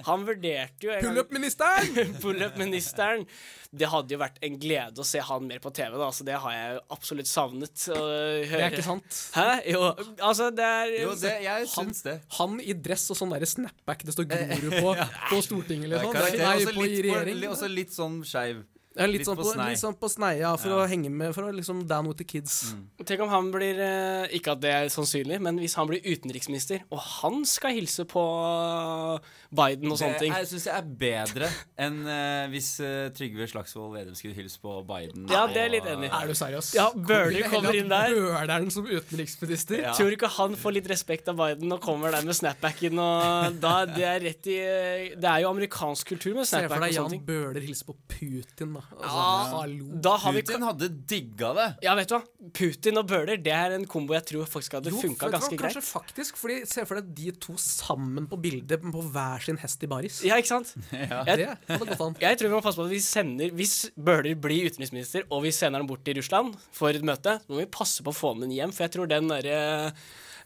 Speaker 2: Han vurderte jo en gang-
Speaker 3: Pullup-ministeren!
Speaker 2: (laughs) Pull-up-ministeren. Det hadde jo vært en glede å se han mer på TV, da. Så det har jeg jo absolutt savnet. Å høre.
Speaker 3: (laughs) Det er ikke sant.
Speaker 2: Hæ? Jo, altså, det er
Speaker 4: Jo, det, jeg
Speaker 3: Han,
Speaker 4: syns det.
Speaker 3: han i dress og sånn der snapback det står
Speaker 4: Eh,
Speaker 3: Grorud
Speaker 4: (laughs)
Speaker 3: på på Stortinget eller noe sånt.
Speaker 4: Karakter,
Speaker 3: Nei, på i
Speaker 4: også Altså litt,
Speaker 3: regjering.
Speaker 4: på- også litt sånn skeiv.
Speaker 3: Ja, litt,
Speaker 4: litt
Speaker 3: sånn
Speaker 4: på
Speaker 3: på,
Speaker 4: snei.
Speaker 3: litt sånn på sneia for å henge med, for å liksom down with the kids.
Speaker 2: Tenk om han blir eh, Ikke at det er sannsynlig, men hvis han blir utenriksminister, og han skal hilse på eh, Biden og sånne
Speaker 4: Det
Speaker 2: ting
Speaker 4: jeg syns jeg er bedre enn eh, hvis eh, Trygve Slagsvold Vedum skulle hilse på Biden.
Speaker 2: Ja,
Speaker 4: og-
Speaker 2: det er jeg litt enig i.
Speaker 3: Er du seriøs?
Speaker 2: Ja, Bøhler kommer inn der.
Speaker 3: Bøhleren som utenriksminister?
Speaker 4: Ja.
Speaker 2: Tror du ikke han får litt respekt av Biden og kommer der med snapbacken og da Det er rett i eh, Det er jo amerikansk kultur med
Speaker 3: Se for
Speaker 2: snapback og
Speaker 3: deg
Speaker 2: sånne
Speaker 3: Jan
Speaker 2: ting.
Speaker 3: Bøhler hilser på Putin, da. Altså, hallo.
Speaker 2: Da har vi
Speaker 4: Putin hadde digga det.
Speaker 2: Ja, vet du hva? Putin og Bøhler, det er en kombo jeg tror faktisk hadde
Speaker 3: Jo,
Speaker 2: funka
Speaker 3: vet du hva,
Speaker 2: ganske greit.
Speaker 3: Kanskje faktisk, fordi Se for deg de to sammen på bildet på hver sin hest i baris.
Speaker 2: Ja, ikke sant?
Speaker 3: Det
Speaker 2: Jeg,
Speaker 3: hadde gått an.
Speaker 2: jeg tror vi må passe på at vi sender Hvis Bøhler blir utenriksminister, og vi sender han bort til Russland for et møte, så må vi passe på å få han inn hjem, for jeg tror den derre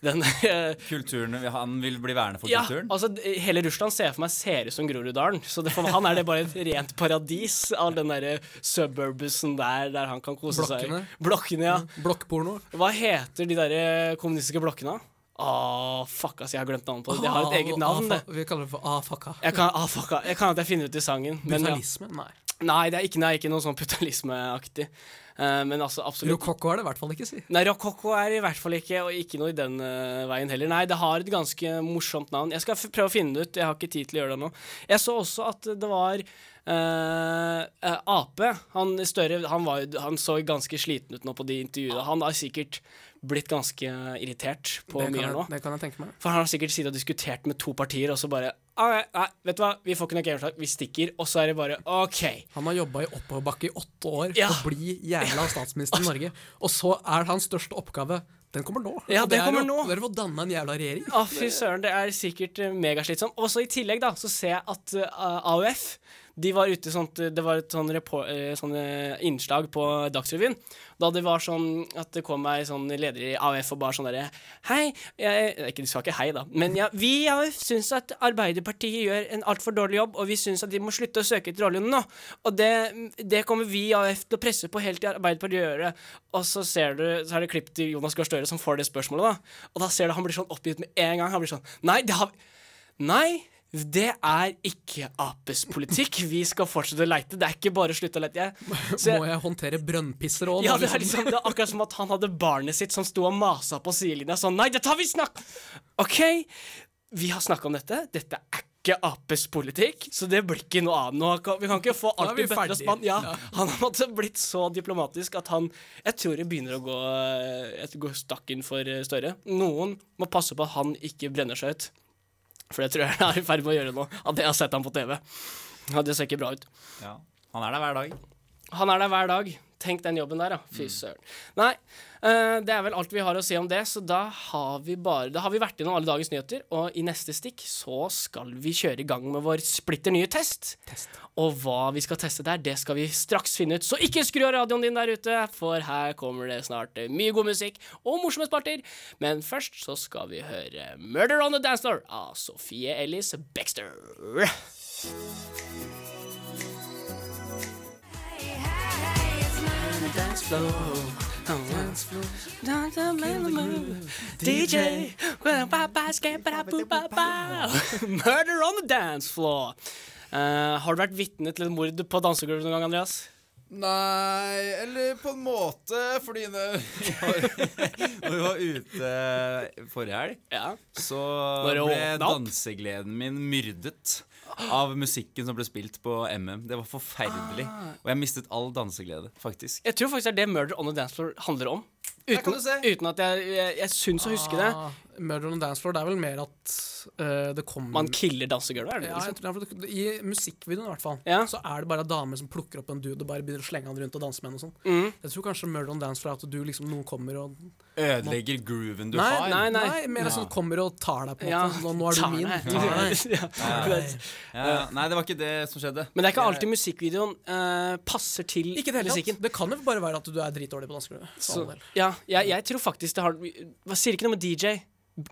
Speaker 2: den derre-
Speaker 4: Kulturen, Han vil bli værende for
Speaker 2: ja,
Speaker 4: kulturen.
Speaker 2: altså d- Hele Russland ser jeg for meg ser ut som Groruddalen. Så det, for han er det bare et rent paradis, all den derre suburbusen der der han kan kose
Speaker 3: Blokkene. Mm.
Speaker 2: seg. Blokkene. ja.
Speaker 3: Blokkporno.
Speaker 2: Hva heter de derre kommunistiske blokkene? Ah, fuck, ass, jeg har glemt navnet på det. Det har et eget navn, det.
Speaker 3: Ah, Vi kaller det for afaka.
Speaker 2: Jeg kan, ah, fuck, ah, jeg kan at jeg finner ut i sangen. Men, ja.
Speaker 3: Brutalisme? Nei.
Speaker 2: Nei, det er ikke, nei, ikke noe sånn putalismeaktig. Eh, men altså, absolutt.
Speaker 3: Rokokko er det i hvert fall ikke, si.
Speaker 2: Nei, Rokokko er i hvert fall ikke, og ikke noe i den eh, veien heller. Nei, det har et ganske morsomt navn. Jeg skal f prøve å finne det ut, jeg har ikke tid til å gjøre det nå. Jeg så også at det var eh, eh, Ape. Han Støre, han, var, jo- han så ganske sliten ut nå på de intervjuene. Han har sikkert blitt ganske irritert på
Speaker 3: Det kan,
Speaker 2: mye her nå.
Speaker 3: jeg, det kan jeg tenke meg.
Speaker 2: For han har sikkert sittet og diskutert med to partier, og så bare Nei, nei vet du hva, vi får ikke noe gjennomslag, vi stikker. Og så er det bare OK.
Speaker 3: Han har jobba i oppoverbakke i åtte år
Speaker 2: Ja.
Speaker 3: og blir jævla statsminister i Norge. Og så er hans største oppgave Den kommer nå.
Speaker 2: Ja,
Speaker 3: Og
Speaker 2: den kommer
Speaker 3: er jo,
Speaker 2: nå.
Speaker 3: Det er å danne en jævla regjering.
Speaker 2: Å, fy søren, det er sikkert eh, megaslitsomt. Og så i tillegg, da, så ser jeg at eh, AUF de var ute i sånt, eh, Det var et sånn repor- eh, sånn, eh, innslag på Dagsrevyen da det var sånn at det kom ei sånn leder i AUF og bare sånn derre Hei jeg, Ikke, du sa ikke hei, da, men ja, vi i AUF syns at Arbeiderpartiet gjør en altfor dårlig jobb, og vi syns at de må slutte å søke etter oljen nå. Og det, det kommer vi i AUF til å presse på helt til Arbeiderpartiet gjør det. Og så ser du, så er det klipp til Jonas Gahr Støre som får det spørsmålet, da. Og da ser du han blir sånn oppgitt med en gang. Han blir sånn Nei, det har vi Nei, det er ikke Apes politikk. Vi skal fortsette å leite. Det er ikke bare å slutte å leite. Jeg, så jeg,
Speaker 3: Må jeg håndtere brønnpisser òg?
Speaker 2: ja, det er liksom det er akkurat som at han hadde barnet sitt som sto og masa på sidelinja sånn Nei, dette har vi snakk... OK, vi har snakka om dette. Dette er ikke Apes politikk, så det blir ikke noe annet. Nå kan- Vi kan ikke få
Speaker 3: er
Speaker 2: alt
Speaker 3: vi
Speaker 2: i bøtter og
Speaker 3: ferdig.
Speaker 2: spann. Ja, han har måtte blitt så diplomatisk at han Jeg tror det begynner å gå Jeg går stakken for eh, Støre. Noen må passe på at han ikke brenner seg ut. For det tror jeg han er i ferd med å gjøre nå. At jeg har sett ham på TV. Ja, det ser ikke bra ut.
Speaker 4: Ja. Han er der hver dag.
Speaker 2: Han er der hver dag. Tenk den jobben der, da. Fy søren. Nei, eh, det er vel alt vi har å si om det, så da har vi bare Da har vi vært gjennom alle dagens nyheter, og i neste stikk så skal vi kjøre i gang med vår splitter nye test. Og hva vi skal teste der, det skal vi straks finne ut, så ikke skru av radioen din der ute, for her kommer det snart eh, mye god musikk og morsomme sparter. Men først så skal vi høre Murder on the Dance Floor av Sofie Elise Baxter. DJ (laughs) Murder on the dance floor. Eh, har du vært vitne til et mord på dansegulvet noen gang, Andreas?
Speaker 4: Nei, eller på en måte, fordi (laughs) når når vi var ute forrige helg,
Speaker 2: Ja.
Speaker 4: så
Speaker 2: Når det
Speaker 4: ble
Speaker 2: åpna opp?
Speaker 4: dansegleden min myrdet av musikken som ble spilt på MM. Det var forferdelig. Og jeg mistet all danseglede, faktisk.
Speaker 2: Jeg tror faktisk det er det Murder on the dance floor handler om.
Speaker 4: kan
Speaker 2: Uten,
Speaker 4: du se.
Speaker 2: uten at jeg, jeg, jeg syns å huske det.
Speaker 3: Ah, Murder on the dance floor, det er vel mer at eh, det kommer
Speaker 2: Man killer dansegulvet, er det det?
Speaker 3: ja, jeg
Speaker 2: Liksom?
Speaker 3: tror det er for- I musikkvideoen i hvert fall
Speaker 2: Ja.
Speaker 3: Så er det bare damer som plukker opp en dude Og bare begynner å slenge han rundt og danse med henne og sånn.
Speaker 2: Mm.
Speaker 3: Jeg tror kanskje Murder on the dance floor er at du liksom Noen kommer og
Speaker 4: Ødelegger grooven du
Speaker 3: Nei,
Speaker 4: har.
Speaker 2: nei, nei.
Speaker 3: mer sånn kommer og tar deg på en måte. Nå, nå er
Speaker 2: tar
Speaker 3: du min.
Speaker 2: meg. (laughs)
Speaker 3: Tar deg.
Speaker 2: Ja.
Speaker 4: Ja, Eh, nei, det var ikke det som skjedde.
Speaker 2: Men det er ikke alltid musikkvideoen eh, passer til
Speaker 3: Ikke det hele
Speaker 2: musikken.
Speaker 3: tatt. Sånn Det kan jo bare være at du er dritdårlig på dansegulvet. for
Speaker 2: Så,
Speaker 3: all del.
Speaker 2: ja, jeg, jeg tror faktisk det har Hva sier ikke noe med DJ?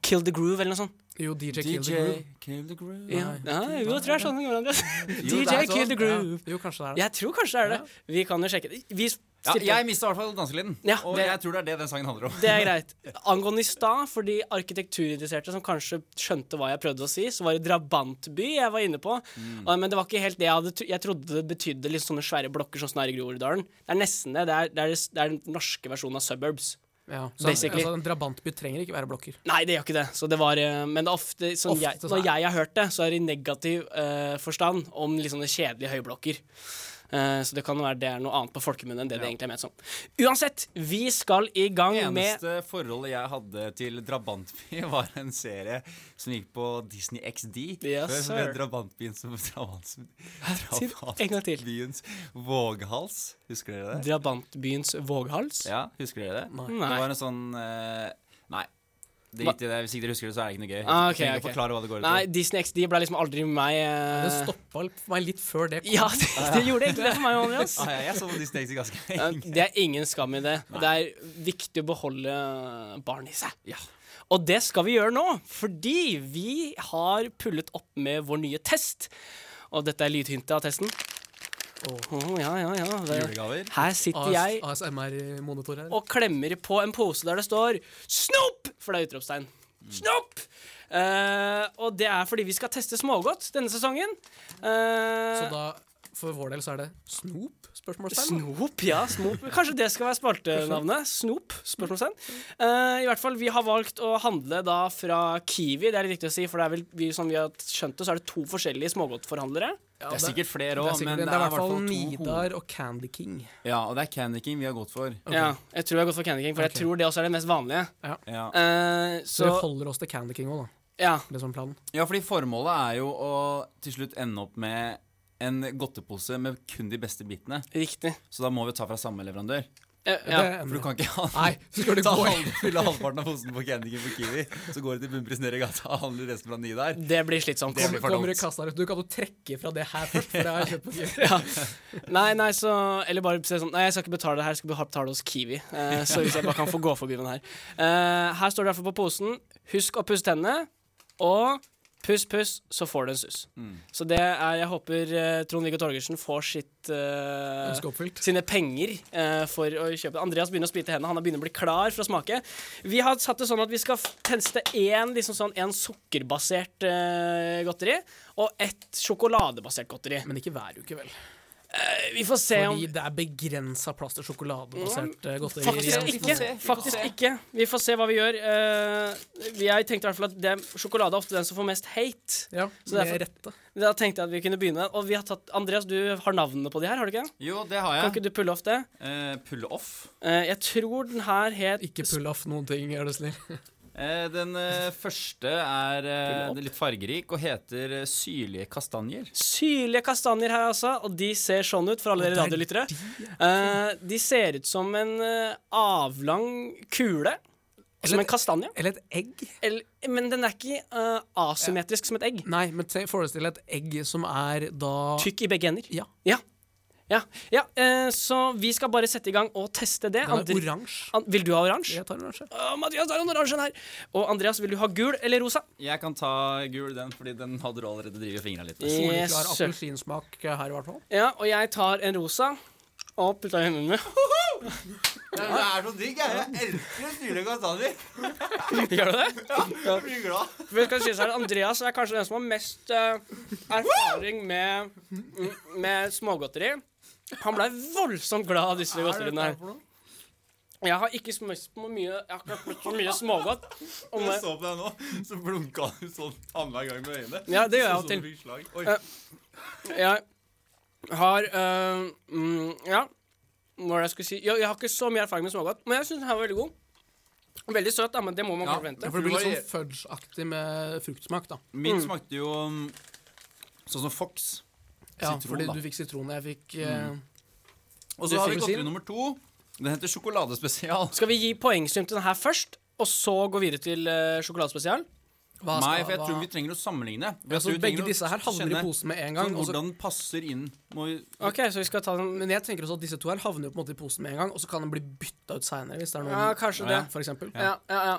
Speaker 2: Kill the Groove eller noe sånt.
Speaker 3: Jo, DJ, Kill the Groove.
Speaker 4: Kill the Groove.
Speaker 2: Ja, ja jo, jeg tror det er (laughs) sånn.
Speaker 3: Jo,
Speaker 2: DJ
Speaker 3: det er
Speaker 2: Kill
Speaker 3: sånn.
Speaker 2: the Groove.
Speaker 3: Ja, jo, kanskje det er det.
Speaker 2: Jeg tror kanskje det er det. Vi kan jo sjekke det. Vi
Speaker 4: Ja,
Speaker 2: stipper.
Speaker 4: jeg mista i hvert fall danselyden.
Speaker 2: Ja,
Speaker 4: og
Speaker 2: det-
Speaker 4: jeg tror det er det den sangen handler om.
Speaker 2: Det er greit. Angående i stad, for de arkitekturinteresserte som kanskje skjønte hva jeg prøvde å si, så var det drabantby jeg var inne på.
Speaker 4: Mm.
Speaker 2: Ah, Men det var ikke helt det jeg hadde tro- Jeg trodde det betydde litt sånne svære blokker som sånn er i Groruddalen. Det er nesten det. Det er, det er, det er den norske versjonen av suburbs.
Speaker 3: Ja, så,
Speaker 2: Basically.
Speaker 3: altså, en drabantby trenger ikke være blokker.
Speaker 2: Nei, det gjør ikke det. Så det var, eh, men det er ofte, sånn
Speaker 3: Ofte
Speaker 2: jeg,
Speaker 3: så
Speaker 2: når
Speaker 3: er-
Speaker 2: jeg har hørt det, så er det i negativ eh, forstand om liksom det kjedelige høyblokker. Eh, så det kan være det er noe annet på folkemunne enn det det egentlig er ment som. Uansett, vi skal i gang med
Speaker 4: (laughs) eneste forholdet jeg hadde til Drabantby, (laughs) var en serie som gikk på Disney XD.
Speaker 2: Yes,
Speaker 4: før, som het
Speaker 2: sir.
Speaker 4: Drabantbyen som (laughs)
Speaker 2: (laughs)
Speaker 4: Drabants,
Speaker 2: si- en gang til.
Speaker 4: Drabantbyens våghals. Husker dere det?
Speaker 2: Drabantbyens våghals.
Speaker 4: Ja, husker dere det?
Speaker 2: Nei.
Speaker 4: Det var en sånn eh, Nei. Drit i det. Hvis ikke dere husker det, så er det ikke noe gøy.
Speaker 2: Ah, ok,
Speaker 4: Trenger ikke
Speaker 2: ok.
Speaker 4: forklare hva det går ut på. (laughs)
Speaker 2: Nei, Disney XD ble liksom aldri med meg. eh.
Speaker 3: Det stoppa meg litt før det kom.
Speaker 2: Ja, (laughs) det, det gjorde egentlig det for meg og Andreas.
Speaker 4: Ah, ja, jeg så på Disney XD ganske (laughs)
Speaker 2: Eh,
Speaker 4: lenge.
Speaker 2: Det er ingen skam i det. Det er viktig å beholde barn i seg.
Speaker 4: Ja.
Speaker 2: Og det skal vi gjøre nå, fordi vi har pullet opp med vår nye test. Og dette er lydhintet av testen. Åh, ja, ja, ja. Det.
Speaker 4: Julegaver.
Speaker 2: Her sitter jeg
Speaker 3: ASMR-monitor her.
Speaker 2: og klemmer på en pose der det står 'Snop!' For det er utropstegn. Snop! Eh, og det er fordi vi skal teste smågodt denne sesongen. Eh,
Speaker 3: Så da, for vår del, så er det snop? Spørsmålstegn.
Speaker 2: Snop, ja. Snop. Kanskje det skal være spaltenavnet? Snop? Spørsmålstegn. Eh, I hvert fall, vi har valgt å handle da fra Kiwi, det er litt viktig å si, for det er vel, vi, som vi har skjønt det, så er det to forskjellige smågodtforhandlere.
Speaker 3: Ja,
Speaker 4: Det er sikkert flere
Speaker 3: det
Speaker 4: òg,
Speaker 3: er sikkert-
Speaker 4: men
Speaker 3: det er i hvert fall
Speaker 4: to hoved...
Speaker 3: Nidar og Candy King.
Speaker 4: Ja, og det er Candy King vi har gått for.
Speaker 2: Ja, jeg tror jeg har gått for Candy King, for
Speaker 3: Ok.
Speaker 2: jeg tror det også er det mest vanlige.
Speaker 4: Ja.
Speaker 2: Eh,
Speaker 3: Så
Speaker 2: så
Speaker 3: vi holder oss til Candy King òg, da.
Speaker 2: ja.
Speaker 3: Det er sånn planen.
Speaker 4: Ja, fordi formålet er jo å til slutt ende opp med en godtepose med kun de beste bitene.
Speaker 2: Riktig.
Speaker 4: Så da må vi ta fra samme leverandør.
Speaker 2: Eh, ja.
Speaker 3: Det er-
Speaker 4: For du kan ikke ha
Speaker 3: Nei, så
Speaker 4: (laughs)
Speaker 3: skal det
Speaker 4: Ta
Speaker 3: gå i-
Speaker 4: halv, fylle halvparten av posen på Candyken på Kiwi, så går det til Bunnpris nede i gata og handler resten fra ni der.
Speaker 2: Det blir slitsomt.
Speaker 4: Det blir for
Speaker 3: Kommer i
Speaker 4: dumt.
Speaker 3: kassa Du kan jo trekke fra det her først, for det har jeg kjøpt på
Speaker 2: (laughs)
Speaker 3: Kiwi.
Speaker 2: Ja. Nei, nei, så Eller bare si sånn Nei, jeg skal ikke betale det her, jeg skal bare betale hos Kiwi. Eh, så hvis jeg bare kan få gå forbi med den her. Eh, her står det i hvert fall på posen Husk å pusse tennene, og puss, puss, så får du en sus. Så det er Jeg håper eh, Trond-Viggo Torgersen får sitt eh,
Speaker 3: Ønske oppfylt.
Speaker 2: sine penger eh, for å kjøpe Andreas begynner å sprite hendene, han er begynner å bli klar for å smake. Vi har satt det sånn at vi skal f- teste én liksom sånn, en sukkerbasert eh, godteri og ett sjokoladebasert godteri.
Speaker 3: Men ikke hver uke, vel.
Speaker 2: Vi får se om
Speaker 3: Fordi det er begrensa plass til sjokoladebasert eh, godteri.
Speaker 2: Faktisk
Speaker 3: igjen.
Speaker 2: ikke. Faktisk ikke. Vi får se hva vi gjør. Eh, vi- jeg tenkte i hvert fall at det, sjokolade er ofte den som får mest hate.
Speaker 3: Ja,
Speaker 2: Så derfor-
Speaker 3: med rette.
Speaker 2: Da tenkte jeg at vi kunne begynne. Og vi har tatt, Andreas, du har navnene på de her, har du ikke? det?
Speaker 4: Jo, det har
Speaker 2: Kan ikke
Speaker 4: jeg.
Speaker 2: du pulle off det?
Speaker 4: Eh, pull off.
Speaker 2: Eh, jeg tror den her het
Speaker 3: Ikke pull off noen ting, er du (laughs) snill.
Speaker 4: Eh, den eh, første er eh,
Speaker 2: Pull opp.
Speaker 4: litt fargerik og heter eh, syrlige kastanjer.
Speaker 2: Syrlige kastanjer her, altså. Og de ser sånn ut, for alle dere radiolyttere. Eh, de ser ut som en eh, avlang kule. Som en kastanje.
Speaker 3: Eller et egg.
Speaker 2: Eller, men den er ikke eh, asymmetrisk som et egg.
Speaker 3: Nei, men se- forestill deg et egg som er da
Speaker 2: Tykk i begge ender.
Speaker 3: Ja.
Speaker 2: Ja. ja. ja. eh, så vi skal bare sette i gang og teste det.
Speaker 3: Den er
Speaker 2: Andre-
Speaker 3: oransje.
Speaker 2: An vil du ha oransje?
Speaker 3: Jeg tar oransje.
Speaker 2: Å, Mathias har en oransje her. Og Andreas, vil du ha gul eller rosa?
Speaker 4: Jeg kan ta gul den, fordi den hadde du allerede drevet fingrene litt med.
Speaker 2: Yes,
Speaker 3: Soleklar
Speaker 2: sir.
Speaker 3: appelsinsmak eh, her, i hvert fall.
Speaker 2: Ja, og jeg tar en rosa. Og putta i hendene mine.
Speaker 4: Det er så digg, jeg. Jeg elsker syrlige kastanjer.
Speaker 2: (laughs) Gjør du det?
Speaker 4: Blir glad.
Speaker 2: For det skal sies her, Andreas er kanskje den som har mest eh, erfaring med, mm, med smågodteri. Han blei voldsomt glad av disse godteriene her. Jeg har ikke smøst på mye Jeg har ikke smøst på mye smågodt. Og
Speaker 4: Når jeg
Speaker 2: med-
Speaker 4: så på deg nå, så blunka du sånn annenhver gang med øynene.
Speaker 2: Ja, det gjør jeg
Speaker 4: Så
Speaker 2: av og til.
Speaker 4: du fikk slag. Oi,
Speaker 2: Eh. Jeg har øh, mm, Ja, hva var det jeg skulle si? Jeg, jeg har ikke så mye erfaring med smågodt, men jeg syns den her var veldig god. Veldig søt, da, men det må man
Speaker 4: Ja,
Speaker 2: kanskje
Speaker 3: Ja,
Speaker 2: forvente.
Speaker 3: for det blir
Speaker 4: Du
Speaker 3: litt
Speaker 4: var i-
Speaker 3: sånn fudge-aktig med fruktsmak, da.
Speaker 4: Min smakte jo mm, sånn som Fox.
Speaker 3: Ja,
Speaker 4: Sitron,
Speaker 3: fordi
Speaker 4: da.
Speaker 3: du fikk sitron, jeg fikk eh,
Speaker 4: Og
Speaker 3: Du
Speaker 4: så har vi
Speaker 3: fikk
Speaker 4: godteri
Speaker 3: sin?
Speaker 4: nummer to. Den heter sjokoladespesial.
Speaker 2: Skal vi gi poengsum til den her først, og så gå videre til øh, sjokoladespesial?
Speaker 3: hva
Speaker 4: Nei,
Speaker 3: skal-
Speaker 4: for jeg
Speaker 3: hva-
Speaker 4: tror vi trenger å sammenligne. For jeg
Speaker 3: altså,
Speaker 4: tror vi
Speaker 3: Begge
Speaker 4: trenger å
Speaker 3: disse her havner
Speaker 4: kjenne
Speaker 3: i posen med en
Speaker 4: sånn
Speaker 3: gang. og så-
Speaker 4: Hvordan den passer inn. Må vi,
Speaker 2: OK, så vi skal ta den
Speaker 3: men jeg tenker også at disse to her havner jo på en måte i posen med en gang, og så kan den bli bytta ut seinere hvis det er noen
Speaker 2: Ja, kanskje det.
Speaker 3: for eksempel.
Speaker 2: Ja, ja, ja.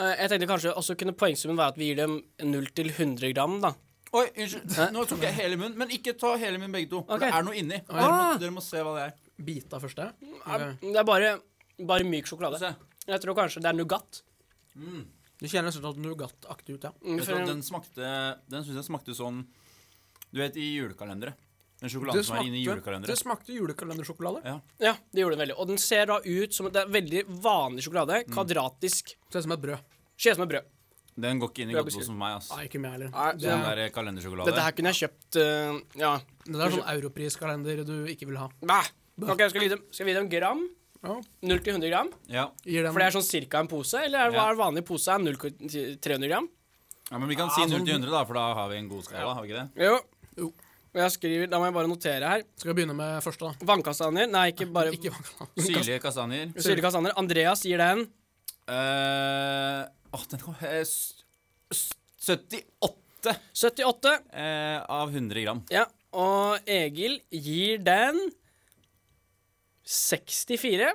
Speaker 2: Eh, Jeg tenkte kanskje også kunne poengsummen være at vi gir dem 0 til 100 gram, da.
Speaker 4: Oi, unnskyld. Nå tok jeg hele munnen. Men ikke ta hele munnen, begge to.
Speaker 2: Ok.
Speaker 4: Det er noe inni. Dere må,
Speaker 2: Ah.
Speaker 4: dere må se hva det er.
Speaker 3: Bite av første.
Speaker 2: Det
Speaker 3: Ok.
Speaker 2: Mm, er bare, bare myk sjokolade.
Speaker 4: Se.
Speaker 2: Jeg tror kanskje det er Nougat.
Speaker 3: Det kjennes ut som nougat-aktig ut, ja.
Speaker 2: Mm,
Speaker 4: Vet du,
Speaker 2: for-
Speaker 4: hva, den smakte Den syns jeg smakte sånn Du vet, i julekalendere. Den
Speaker 3: Det
Speaker 4: sjokoladen som er inni
Speaker 3: smakte, det
Speaker 4: julekalendere.
Speaker 3: smakte julekalendersjokolade.
Speaker 4: Ja.
Speaker 2: Ja, det gjorde den veldig. Og den ser da ut som Det er veldig vanlig sjokolade.
Speaker 4: Mm.
Speaker 2: Kvadratisk.
Speaker 3: Ser ut som et brød.
Speaker 2: Ser ut som et brød.
Speaker 4: Den går ikke inn i
Speaker 2: Bra
Speaker 4: godteposen for meg, ass.
Speaker 3: Nei, ikke meg heller.
Speaker 2: Nei,
Speaker 3: Det,
Speaker 4: Så Den
Speaker 3: er-
Speaker 4: der kalendersjokolade.
Speaker 2: Dette her kunne jeg kjøpt eh, Ja.
Speaker 3: det der er sånn europriskalender du ikke vil ha.
Speaker 2: Bæ. Ok, skal vi gi dem, skal vi gi dem gram?
Speaker 3: Ja.
Speaker 2: 0 til 100 gram?
Speaker 4: Ja.
Speaker 3: Gir den
Speaker 2: For det er sånn cirka en pose? Eller er, hva
Speaker 4: Ja.
Speaker 2: er vanlig pose? Er 0 til 300 gram?
Speaker 4: ja, men vi kan si
Speaker 2: altså,
Speaker 4: 0 til 100, da, for da har vi en god skala, har vi ikke det?
Speaker 2: Jo.
Speaker 3: Jo.
Speaker 2: Jeg skriver, da må jeg bare notere her.
Speaker 3: Skal vi begynne med første, da?
Speaker 2: Vannkastanjer. Nei, ikke bare
Speaker 3: Ikke vankalan.
Speaker 4: Syrlige kastanjer.
Speaker 2: Syrlige kastanjer. Andreas gir den
Speaker 4: Eh, åh, den kom eh, s- s- 78
Speaker 2: 78.
Speaker 4: eh, av 100 gram.
Speaker 2: Ja. Og Egil gir den 64.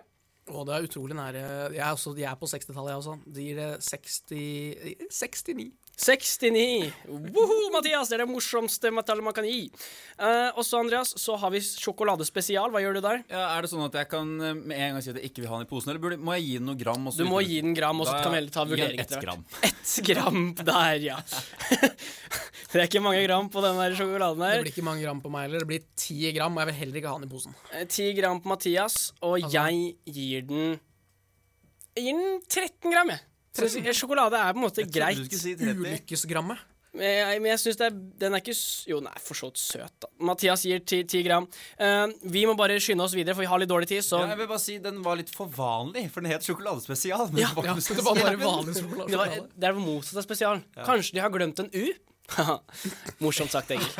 Speaker 3: Å, det er utrolig nære. Jeg er, også, jeg er på 60-tallet, jeg også. De gir det 60 69.
Speaker 2: 69. Woho, Mathias, det er det morsomste metallet man kan gi. Eh, og så, Andreas, så har vi sjokoladespesial. Hva gjør du der?
Speaker 4: Ja, er det sånn at jeg kan eh, med en gang si at jeg ikke vil ha den i posen, eller burde, må jeg gi den noe gram? og så
Speaker 2: Du må
Speaker 4: utelukke-
Speaker 2: gi den gram, og så
Speaker 4: Da
Speaker 2: kan vi heller ta
Speaker 4: gir jeg
Speaker 2: vurdering
Speaker 4: ett gram.
Speaker 2: (laughs) Ett gram der, ja. (laughs) det er ikke mange gram på den der sjokoladen
Speaker 3: Det
Speaker 2: der.
Speaker 3: blir ikke mange gram på meg heller. Det blir 10 gram, og jeg vil heller ikke ha den i posen.
Speaker 2: Eh, Ti gram på Mathias, og
Speaker 4: Altså.
Speaker 2: jeg gir den Jeg gir den 13 gram, jeg. Synes jeg- Sjokolade er på en måte
Speaker 4: Greit.
Speaker 2: greit.
Speaker 4: Du skulle si 30.
Speaker 3: Ulykkesgrammet.
Speaker 2: Men jeg, men jeg synes det er, den er ikke s- Jo, den er for så vidt søt, da. Mathias gir 10 10 gram. Eh, vi må bare skynde oss videre, for vi har litt dårlig tid, så
Speaker 4: Ja, jeg vil bare si Den var litt for vanlig, for den het sjokoladespesial. Men det var
Speaker 3: Ja,
Speaker 4: ikke
Speaker 3: så
Speaker 4: noe
Speaker 3: det var bare
Speaker 4: spesielt.
Speaker 3: vanlig
Speaker 2: Det, var,
Speaker 3: sjokolade.
Speaker 2: det er motsatt av spesial. Kanskje de har glemt en U? (laughs) Haha. Morsomt sagt, Egil.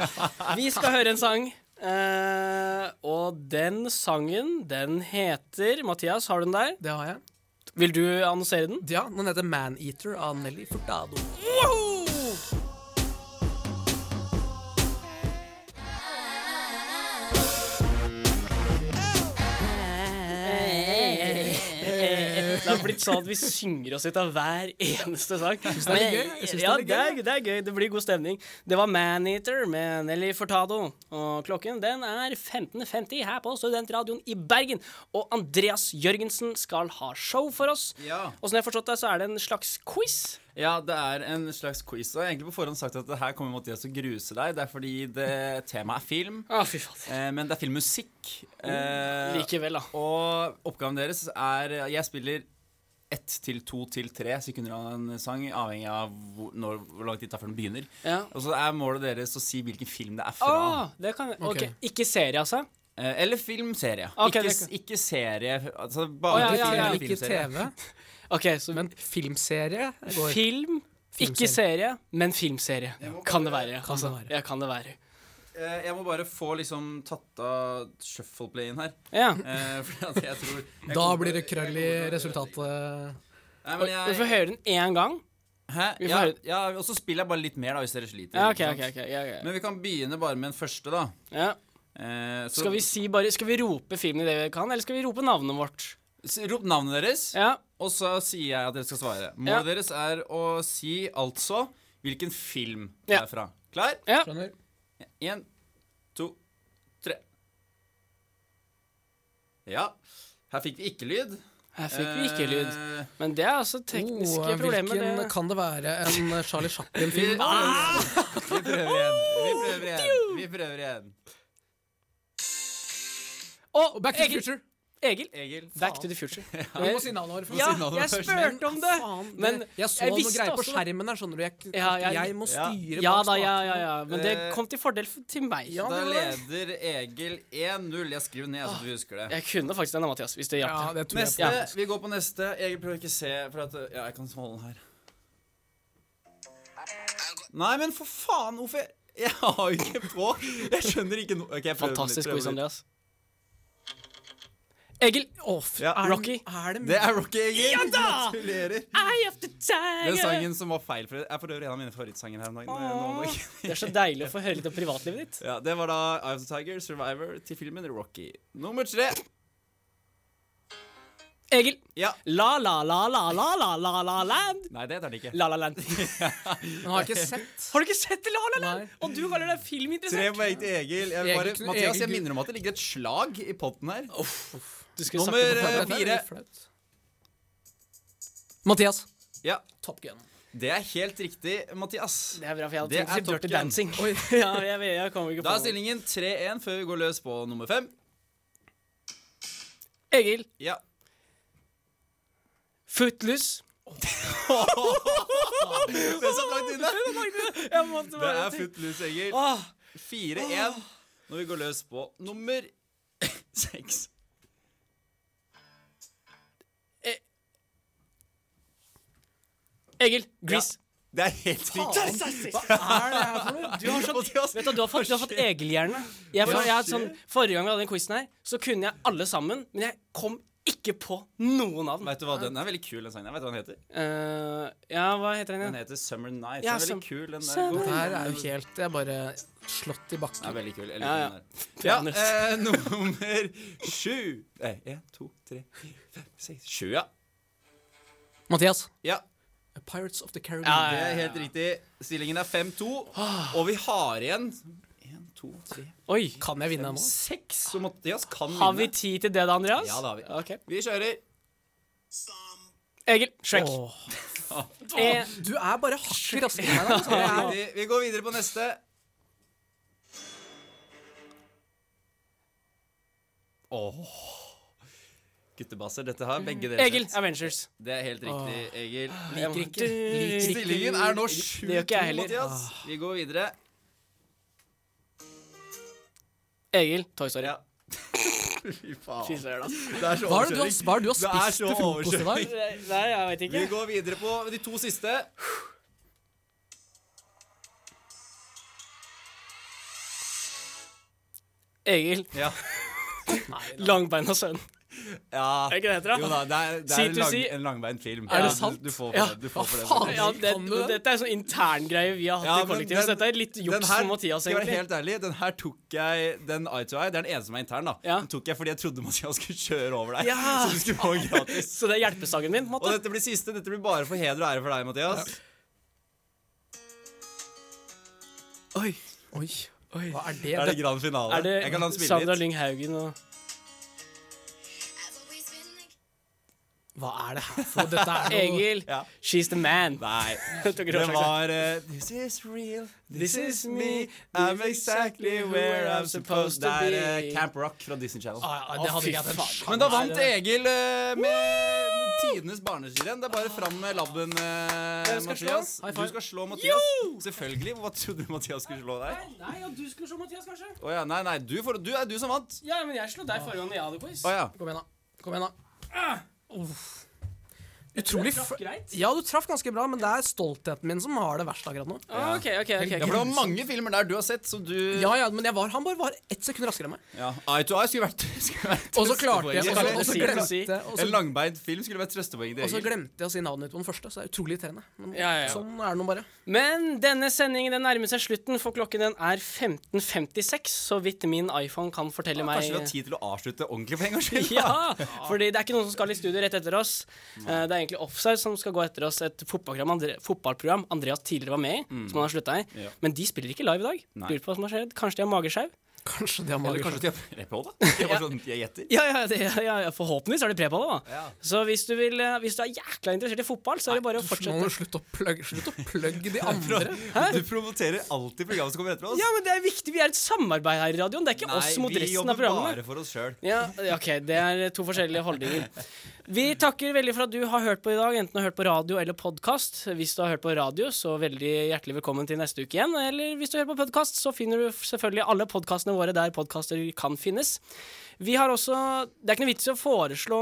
Speaker 2: Vi skal høre en sang. eh, og den sangen, den heter Mathias, har du den der?
Speaker 3: Det har jeg.
Speaker 2: Vil du annonsere den?
Speaker 3: Ja, den heter Maneater av Nelly Furtado.
Speaker 2: Det har blitt sånn at vi synger oss ut av hver eneste sang. det
Speaker 3: er litt gøy. Jeg synes det er
Speaker 2: ja,
Speaker 3: litt
Speaker 2: det er, det er gøy. Det blir god stemning. Det var Maneater med Nelly Furtado. Og klokken den er 15.50 her på Studentradioen i Bergen. Og Andreas Jørgensen skal ha show for oss.
Speaker 4: Ja.
Speaker 2: Og som jeg har forstått det, så er det en slags quiz.
Speaker 4: Ja, det er en slags quiz. Og jeg har egentlig på forhånd sagt at det her kommer Mathias til å gruse deg. Det er fordi det temaet er film,
Speaker 2: Å, fy fader.
Speaker 4: eh, men det er filmmusikk. Eh,
Speaker 2: Likevel, da.
Speaker 4: Og oppgaven deres er Jeg spiller ett til to til tre sekunder av en sang, avhengig av hvor, når, hvor lang tid det tar før den begynner.
Speaker 2: Ja. Ah!
Speaker 4: Og så er målet deres å si hvilken film det er fra.
Speaker 2: Å, det kan jeg.
Speaker 3: Ok.
Speaker 2: ok, Ikke serie, altså?
Speaker 4: Eh, eller filmserie.
Speaker 2: Ok,
Speaker 4: ikke,
Speaker 2: det
Speaker 4: s-
Speaker 2: kan-
Speaker 4: ikke serie altså bare
Speaker 2: Å, ja, ja, ja.
Speaker 3: Ikke TV,
Speaker 2: Ok, så
Speaker 3: men filmserie. Går.
Speaker 2: Film, ikke
Speaker 3: Filmserie.
Speaker 2: serie, men filmserie. Kan det være.
Speaker 3: Kan
Speaker 2: altså.
Speaker 3: det være.
Speaker 2: Ja, kan det være.
Speaker 4: Eh, jeg må bare få liksom tatt av shuffle-playen her.
Speaker 2: Ja.
Speaker 4: Eh, (laughs) for at jeg tror jeg
Speaker 3: Da
Speaker 4: kommer-
Speaker 3: blir det krøll i
Speaker 4: jeg kommer-
Speaker 3: resultatet.
Speaker 4: Nei,
Speaker 2: Og
Speaker 4: men
Speaker 2: Vi får
Speaker 4: jeg,
Speaker 2: høre den én gang.
Speaker 4: hæ?
Speaker 2: vi får
Speaker 4: Ja,
Speaker 2: høre-
Speaker 4: ja, og så spiller jeg bare litt mer, da, hvis dere sliter.
Speaker 2: Ja, ok,
Speaker 4: ikke sant?
Speaker 2: ok, ok, ja, ja, ja.
Speaker 4: Men vi kan begynne bare med den første, da.
Speaker 2: ja.
Speaker 4: Eh, så,
Speaker 2: Skal vi si bare Skal vi rope filmen i det vi kan, eller skal vi rope navnet vårt?
Speaker 4: s- Rop navnet deres,
Speaker 2: Ja.
Speaker 4: og så sier jeg at dere skal svare. Målet
Speaker 2: Ja.
Speaker 4: deres er å si altså hvilken film det
Speaker 2: Ja.
Speaker 4: er fra. Klar?
Speaker 3: Skjønner?
Speaker 4: Én, to, tre. Ja. Her fikk vi ikke lyd.
Speaker 2: Her fikk vi ikke lyd.
Speaker 4: Eh,
Speaker 2: Men det er altså tekniske
Speaker 3: Oh,
Speaker 2: problemer.
Speaker 3: hvilken
Speaker 2: Det.
Speaker 3: kan det være? En Charlie
Speaker 4: Vi,
Speaker 3: Chaplin-film?
Speaker 2: altså.
Speaker 4: vi prøver igjen. Vi prøver igjen. Vi prøver igjen.
Speaker 2: Å,
Speaker 3: Back to the
Speaker 2: Egil,
Speaker 3: future.
Speaker 2: Egil.
Speaker 4: Egil.
Speaker 2: Back to the
Speaker 4: (laughs)
Speaker 2: future.
Speaker 3: Vi må si navnet vårt.
Speaker 2: Ja, jeg spurte om det! Men
Speaker 3: jeg så
Speaker 2: jeg
Speaker 3: noe
Speaker 2: visste
Speaker 3: greier på
Speaker 2: også det.
Speaker 3: skjermen der, skjønner du. Jeg,
Speaker 2: Ja, jeg-
Speaker 3: jeg må
Speaker 4: Ja.
Speaker 3: styre
Speaker 2: Ja da,
Speaker 3: bak
Speaker 2: ja,
Speaker 3: spaken.
Speaker 2: ja, ja. Men det
Speaker 4: Eh,
Speaker 2: kom til fordel f- til meg.
Speaker 3: Ja,
Speaker 4: Da
Speaker 3: det var det.
Speaker 4: leder Egil 1-0. Jeg skriver ned, så du husker det.
Speaker 2: Jeg kunne faktisk denne, Mathias, hvis det
Speaker 3: Ja,
Speaker 2: hjalp.
Speaker 3: det tror jeg på.
Speaker 4: Neste.
Speaker 2: Ja.
Speaker 4: Vi går på neste. Egil prøver ikke å se, for at Ja, jeg kan holde den her. Nei, men for faen, hvorfor jeg- Jeg har jo ikke på! Jeg skjønner ikke noe Ok, jeg prøver
Speaker 2: Fantastisk
Speaker 4: på
Speaker 2: quiz,
Speaker 4: nytt, prøver på nytt.
Speaker 2: Andreas. Egil.
Speaker 4: Ja.
Speaker 3: Er det-
Speaker 2: Rocky.
Speaker 3: Er det
Speaker 4: Det er Rocky Egil.
Speaker 2: Ja da!
Speaker 4: Gratulerer.
Speaker 2: Eye of the tiger.
Speaker 4: Den (laughs) sangen som var feil, for jeg for øvrig en av mine favorittsanger her om dagen. nå om dagen.
Speaker 2: Det er så deilig å få høre litt om privatlivet ditt.
Speaker 4: Ja, Det var da Eye of the Tiger, Survivor, til filmen Rocky. Nummer tre.
Speaker 2: Egil.
Speaker 4: Ja.
Speaker 2: La la la la la la la la land.
Speaker 4: Nei, det heter det ikke.
Speaker 2: La la land.
Speaker 3: Men har jeg ikke sett.
Speaker 2: Har du ikke sett La la land?
Speaker 3: Nei.
Speaker 2: Og du kaller deg
Speaker 4: Tre
Speaker 2: filminteressert.
Speaker 4: poeng til Egil. Jeg vil bare,
Speaker 3: Egil-
Speaker 4: Mathias,
Speaker 3: Egil-
Speaker 4: jeg minner om at det ligger et slag i potten her.
Speaker 2: Du skulle
Speaker 4: Nummer,
Speaker 2: sagt det på
Speaker 4: eh,
Speaker 2: forhånd.
Speaker 3: Dette er
Speaker 4: fire.
Speaker 3: litt flaut. Mathias.
Speaker 4: Ja,
Speaker 3: Top Gun.
Speaker 4: Det er helt riktig, Mathias.
Speaker 2: Det er bra, for jeg hadde
Speaker 4: Det
Speaker 2: tenkt å si
Speaker 4: er Top
Speaker 2: Dirty
Speaker 4: Gun.
Speaker 2: Dancing. (laughs) ja, jeg, vet- jeg kom ikke
Speaker 4: Da
Speaker 2: på
Speaker 4: er
Speaker 2: det.
Speaker 4: stillingen 3-1 før vi går løs på nummer fem.
Speaker 2: Egil.
Speaker 4: Ja.
Speaker 2: Footloose.
Speaker 4: Det er så langt inne.
Speaker 2: (laughs) Jeg måtte
Speaker 4: Det
Speaker 2: bare
Speaker 4: er Footloose, Egil.
Speaker 2: Åh,
Speaker 4: 4-1 når vi går løs på nummer (laughs) seks.
Speaker 2: Egil. Grease.
Speaker 4: Det er helt riktig.
Speaker 2: Du har sånn
Speaker 4: Mathias,
Speaker 2: Vet du, du har fått, du har fått Egil-hjerne. Jeg, for, jeg hadde sånn, forrige gang vi hadde den quizen her, så kunne jeg alle sammen, men jeg kom ikke på noen av dem.
Speaker 4: Vet du hva, Den er veldig kul, den sangen. Jeg vet du hva den heter.
Speaker 2: Eh, ja, hva heter den
Speaker 4: Den
Speaker 2: igjen?
Speaker 4: heter Summer Nights.
Speaker 2: Ja,
Speaker 4: den er
Speaker 2: som-
Speaker 4: veldig kul. Den der.
Speaker 2: Summer
Speaker 4: Den
Speaker 3: Det her er jo helt Jeg er bare slått i bakken.
Speaker 4: er veldig kul. Jeg
Speaker 2: Ja,
Speaker 4: liker
Speaker 2: ja.
Speaker 4: den der. Ja,
Speaker 2: Anders.
Speaker 4: eh, (laughs) nummer sju. Eh, en, to, tre, fire, fem, seks Sju, ja.
Speaker 3: Mathias.
Speaker 4: ja.
Speaker 3: Pirates of the Caribbean.
Speaker 2: Ja,
Speaker 4: Det
Speaker 2: ja,
Speaker 4: er
Speaker 2: ja.
Speaker 4: helt riktig. Stillingen er 5-2, og vi har igjen En, to, tre,
Speaker 2: Oi.
Speaker 3: Kan jeg vinne
Speaker 4: fem,
Speaker 3: nå?
Speaker 4: seks. Så Mathias kan vinne.
Speaker 2: Har vi tid til det da, Andreas?
Speaker 4: Ja, det har vi.
Speaker 2: Ok.
Speaker 4: Vi kjører.
Speaker 2: Egil. Shrek.
Speaker 3: Åh.
Speaker 2: Eh,
Speaker 3: Du er bare hakket raskere enn meg. da.
Speaker 4: Det er riktig. Vi går videre på neste. Åh. Guttebasser, dette har begge dere
Speaker 2: Egil.
Speaker 4: sett.
Speaker 2: Avengers.
Speaker 4: Det er helt riktig, Egil.
Speaker 2: Liker ikke.
Speaker 4: Stillingen er nå
Speaker 2: Det gjør ikke
Speaker 4: 7-2,
Speaker 2: jeg heller.
Speaker 4: Mathias. Vi går videre.
Speaker 2: Egil. Toy Story.
Speaker 4: Ja. (laughs) Fy
Speaker 2: Fy
Speaker 4: faen.
Speaker 2: søren, altså.
Speaker 4: Det er så
Speaker 3: Hva er det du har,
Speaker 4: overkjøring.
Speaker 3: hva er det du har
Speaker 4: Det er
Speaker 3: spist
Speaker 4: så
Speaker 3: til frokost i dag?
Speaker 4: overkjøring.
Speaker 2: Nei, jeg vet
Speaker 4: Vi
Speaker 2: ikke.
Speaker 4: går videre på de to siste.
Speaker 2: Egil.
Speaker 4: Ja.
Speaker 2: Langbeina sønn.
Speaker 4: ja.
Speaker 2: Er ikke det heter,
Speaker 4: Jo
Speaker 2: da?
Speaker 4: da, det er, det er en,
Speaker 2: C2C.
Speaker 4: lang, en langbeint film.
Speaker 2: Er det
Speaker 4: Ja,
Speaker 3: sant?
Speaker 4: Du, du får for
Speaker 3: Ja.
Speaker 4: det. Du får for
Speaker 3: Hva
Speaker 4: det.
Speaker 3: faen?
Speaker 2: Ja, det,
Speaker 3: Kan du det?
Speaker 2: dette er sånn interngreie vi har hatt
Speaker 4: Ja,
Speaker 2: i
Speaker 4: men
Speaker 2: kollektivet, så
Speaker 4: den-
Speaker 2: dette er litt
Speaker 4: Den
Speaker 2: juks
Speaker 4: her-
Speaker 2: for Mathias,
Speaker 4: Skal jeg være
Speaker 2: egentlig.
Speaker 4: helt ærlig, den her tok jeg Den eye to eye, det er den ene som er intern, da.
Speaker 2: Ja.
Speaker 4: Den tok jeg fordi jeg trodde Mathias skulle kjøre over deg.
Speaker 2: Ja.
Speaker 4: Så du skulle få den gratis.
Speaker 2: Så det er hjelpesaken min, på en
Speaker 4: Og
Speaker 2: måte.
Speaker 4: dette blir siste. Dette blir bare for heder og ære for deg, Mathias.
Speaker 2: Oi.
Speaker 3: Oi. Hva er det?
Speaker 4: Er det grand finale?
Speaker 2: Er det
Speaker 4: jeg kan la den spille
Speaker 2: Sandra
Speaker 4: litt.
Speaker 2: Lyng Haugen og
Speaker 3: Hva er det her for noe? Dette er noe
Speaker 2: Egil?
Speaker 4: (laughs) Ja.
Speaker 2: She's the man. (laughs)
Speaker 4: Nei.
Speaker 2: Jeg tok
Speaker 4: Det
Speaker 2: råsjansen.
Speaker 4: var eh, This is real, this is me, I'm exactly where I'm supposed to be. Det er eh, Camp Rock fra Disney Channel.
Speaker 3: ah, ja, Det
Speaker 2: Å,
Speaker 3: hadde
Speaker 2: fy
Speaker 3: ikke jeg
Speaker 2: faen.
Speaker 3: tenkt.
Speaker 4: Men da vant Egil eh, med tidenes barneskirenn. Det er bare fram med labben, eh,
Speaker 2: Hvem skal slå?
Speaker 4: Mathias.
Speaker 2: High
Speaker 4: Du
Speaker 2: five.
Speaker 4: skal slå Mathias. Selvfølgelig. Hva trodde du Mathias skulle slå deg?
Speaker 2: Nei, og du skulle slå Mathias, kanskje?
Speaker 4: Å ja, nei, nei, du, får- du er du som vant.
Speaker 2: Ja, men jeg slo deg forrige gang jeg hadde quiz.
Speaker 4: Å ja.
Speaker 3: Kom igjen, da. Kom igjen, da. Uff. Utrolig
Speaker 2: traff
Speaker 3: fl-
Speaker 2: greit.
Speaker 3: Ja, du traff ganske bra, men det er stoltheten min som har det verst akkurat nå.
Speaker 2: Ah, ok, ok, ok.
Speaker 4: Ja, for det var
Speaker 2: ok.
Speaker 4: mange filmer der du har sett, så du
Speaker 3: Ja, ja, men jeg var, han bare var ett sekund raskere enn meg.
Speaker 4: Ja, Eye to eye skulle vært, (laughs) skulle vært
Speaker 3: Og så klarte jeg og så- og
Speaker 4: trøstepoenget.
Speaker 3: så
Speaker 2: Eller
Speaker 3: glemte
Speaker 2: si-
Speaker 3: jeg- og
Speaker 4: En
Speaker 3: så-
Speaker 4: langbeint film skulle vært trøstepoenget
Speaker 3: og så
Speaker 4: til Egil.
Speaker 3: glemte jeg å si navnet mitt på den første, så det er utrolig irriterende. Men
Speaker 2: Ja, ja, ja.
Speaker 3: sånn er det nå bare.
Speaker 2: Men denne sendingen den nærmer seg slutten, for klokken den er 15.56, så vidt min iPhone kan fortelle meg
Speaker 4: Kanskje vi har tid til å avslutte ordentlig for en gangs skyld? da?
Speaker 2: (laughs) Ja, fordi det er ikke noen som skal i studio rett etter oss. Eh, Det er egentlig Offside som skal gå etter oss, et fotballprogram, Andre, fotballprogram Andreas tidligere var med i, som han har slutta i.
Speaker 4: Ja.
Speaker 2: Men de spiller ikke live i dag.
Speaker 4: Nei.
Speaker 2: Lurer på hva som har skjedd. Kanskje de har magesjau?
Speaker 3: Kanskje det har magisk.
Speaker 4: Eller kanskje til Repå, da? Jeg bare sånn, jeg gjetter.
Speaker 2: (laughs) Ja, ja, det, ja, ja, forhåpentligvis er det pre på det, da.
Speaker 4: Ja.
Speaker 2: Så hvis du, vil, eh, hvis du er jækla interessert i fotball, så er det bare å
Speaker 3: Du må
Speaker 2: fortsette.
Speaker 3: slutte å plugge slutt å plugge (laughs) de andre.
Speaker 4: Du promoterer alltid programmet som kommer etter oss.
Speaker 2: Ja, men det er viktig. Vi er et samarbeid her i radioen. Det er ikke oss mot
Speaker 4: vi
Speaker 2: resten av
Speaker 4: jobber
Speaker 2: programmet.
Speaker 4: bare for oss sjøl.
Speaker 2: Ja, ok, Det er to forskjellige holdninger. Vi takker veldig for at du har hørt på i dag, enten du har hørt på radio eller podkast. Hvis du har hørt på radio, så veldig hjertelig velkommen til neste uke igjen. Eller hvis du hører på podkast, så finner du selvfølgelig alle podkastene våre der podkaster kan finnes. Vi har også Det er ikke noe vits i å foreslå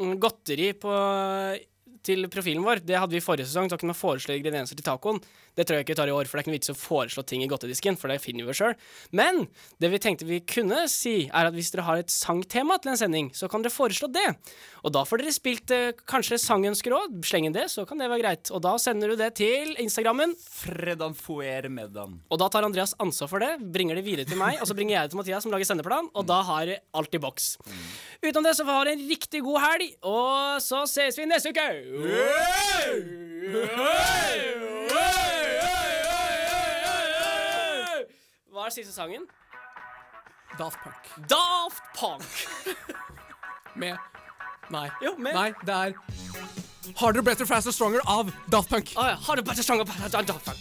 Speaker 2: mm, godteri på til profilen vår. Det hadde vi i forrige sesong. Da kunne man foreslå ingredienser til tacoen. Det tror jeg ikke vi tar i år, for det er ikke noe vits å foreslå ting i godtedisken, for det finner vi jo sjøl. Men det vi tenkte vi kunne si, er at hvis dere har et sangtema til en sending, så kan dere foreslå det. Og da får dere spilt eh, kanskje sangønsker òg. Sleng inn det, så kan det være greit. Og da sender du det til Instagrammen,
Speaker 4: Fredan fuer medan.
Speaker 2: og da tar Andreas ansvar for det, bringer det videre til meg, og så bringer jeg det til Mathias, som lager sendeplan, og da har alt i boks. Utenom det så får dere en riktig god helg, og så ses vi neste uke! Hva er siste sangen?
Speaker 3: Daft Punk.
Speaker 2: Daft Punk.
Speaker 3: Med Nei.
Speaker 2: Jo, med-
Speaker 3: Nei, det er Harder, Better, Faster, Stronger av Daft Punk.
Speaker 2: Å ja. Har du bedre sanger på Daft Punk?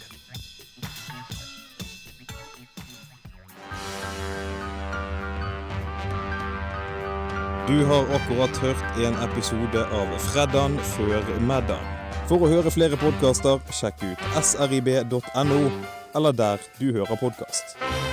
Speaker 8: Du har akkurat hørt en episode av Freddan før middag. For å høre flere podkaster, sjekk ut srib.no, eller der du hører podkast.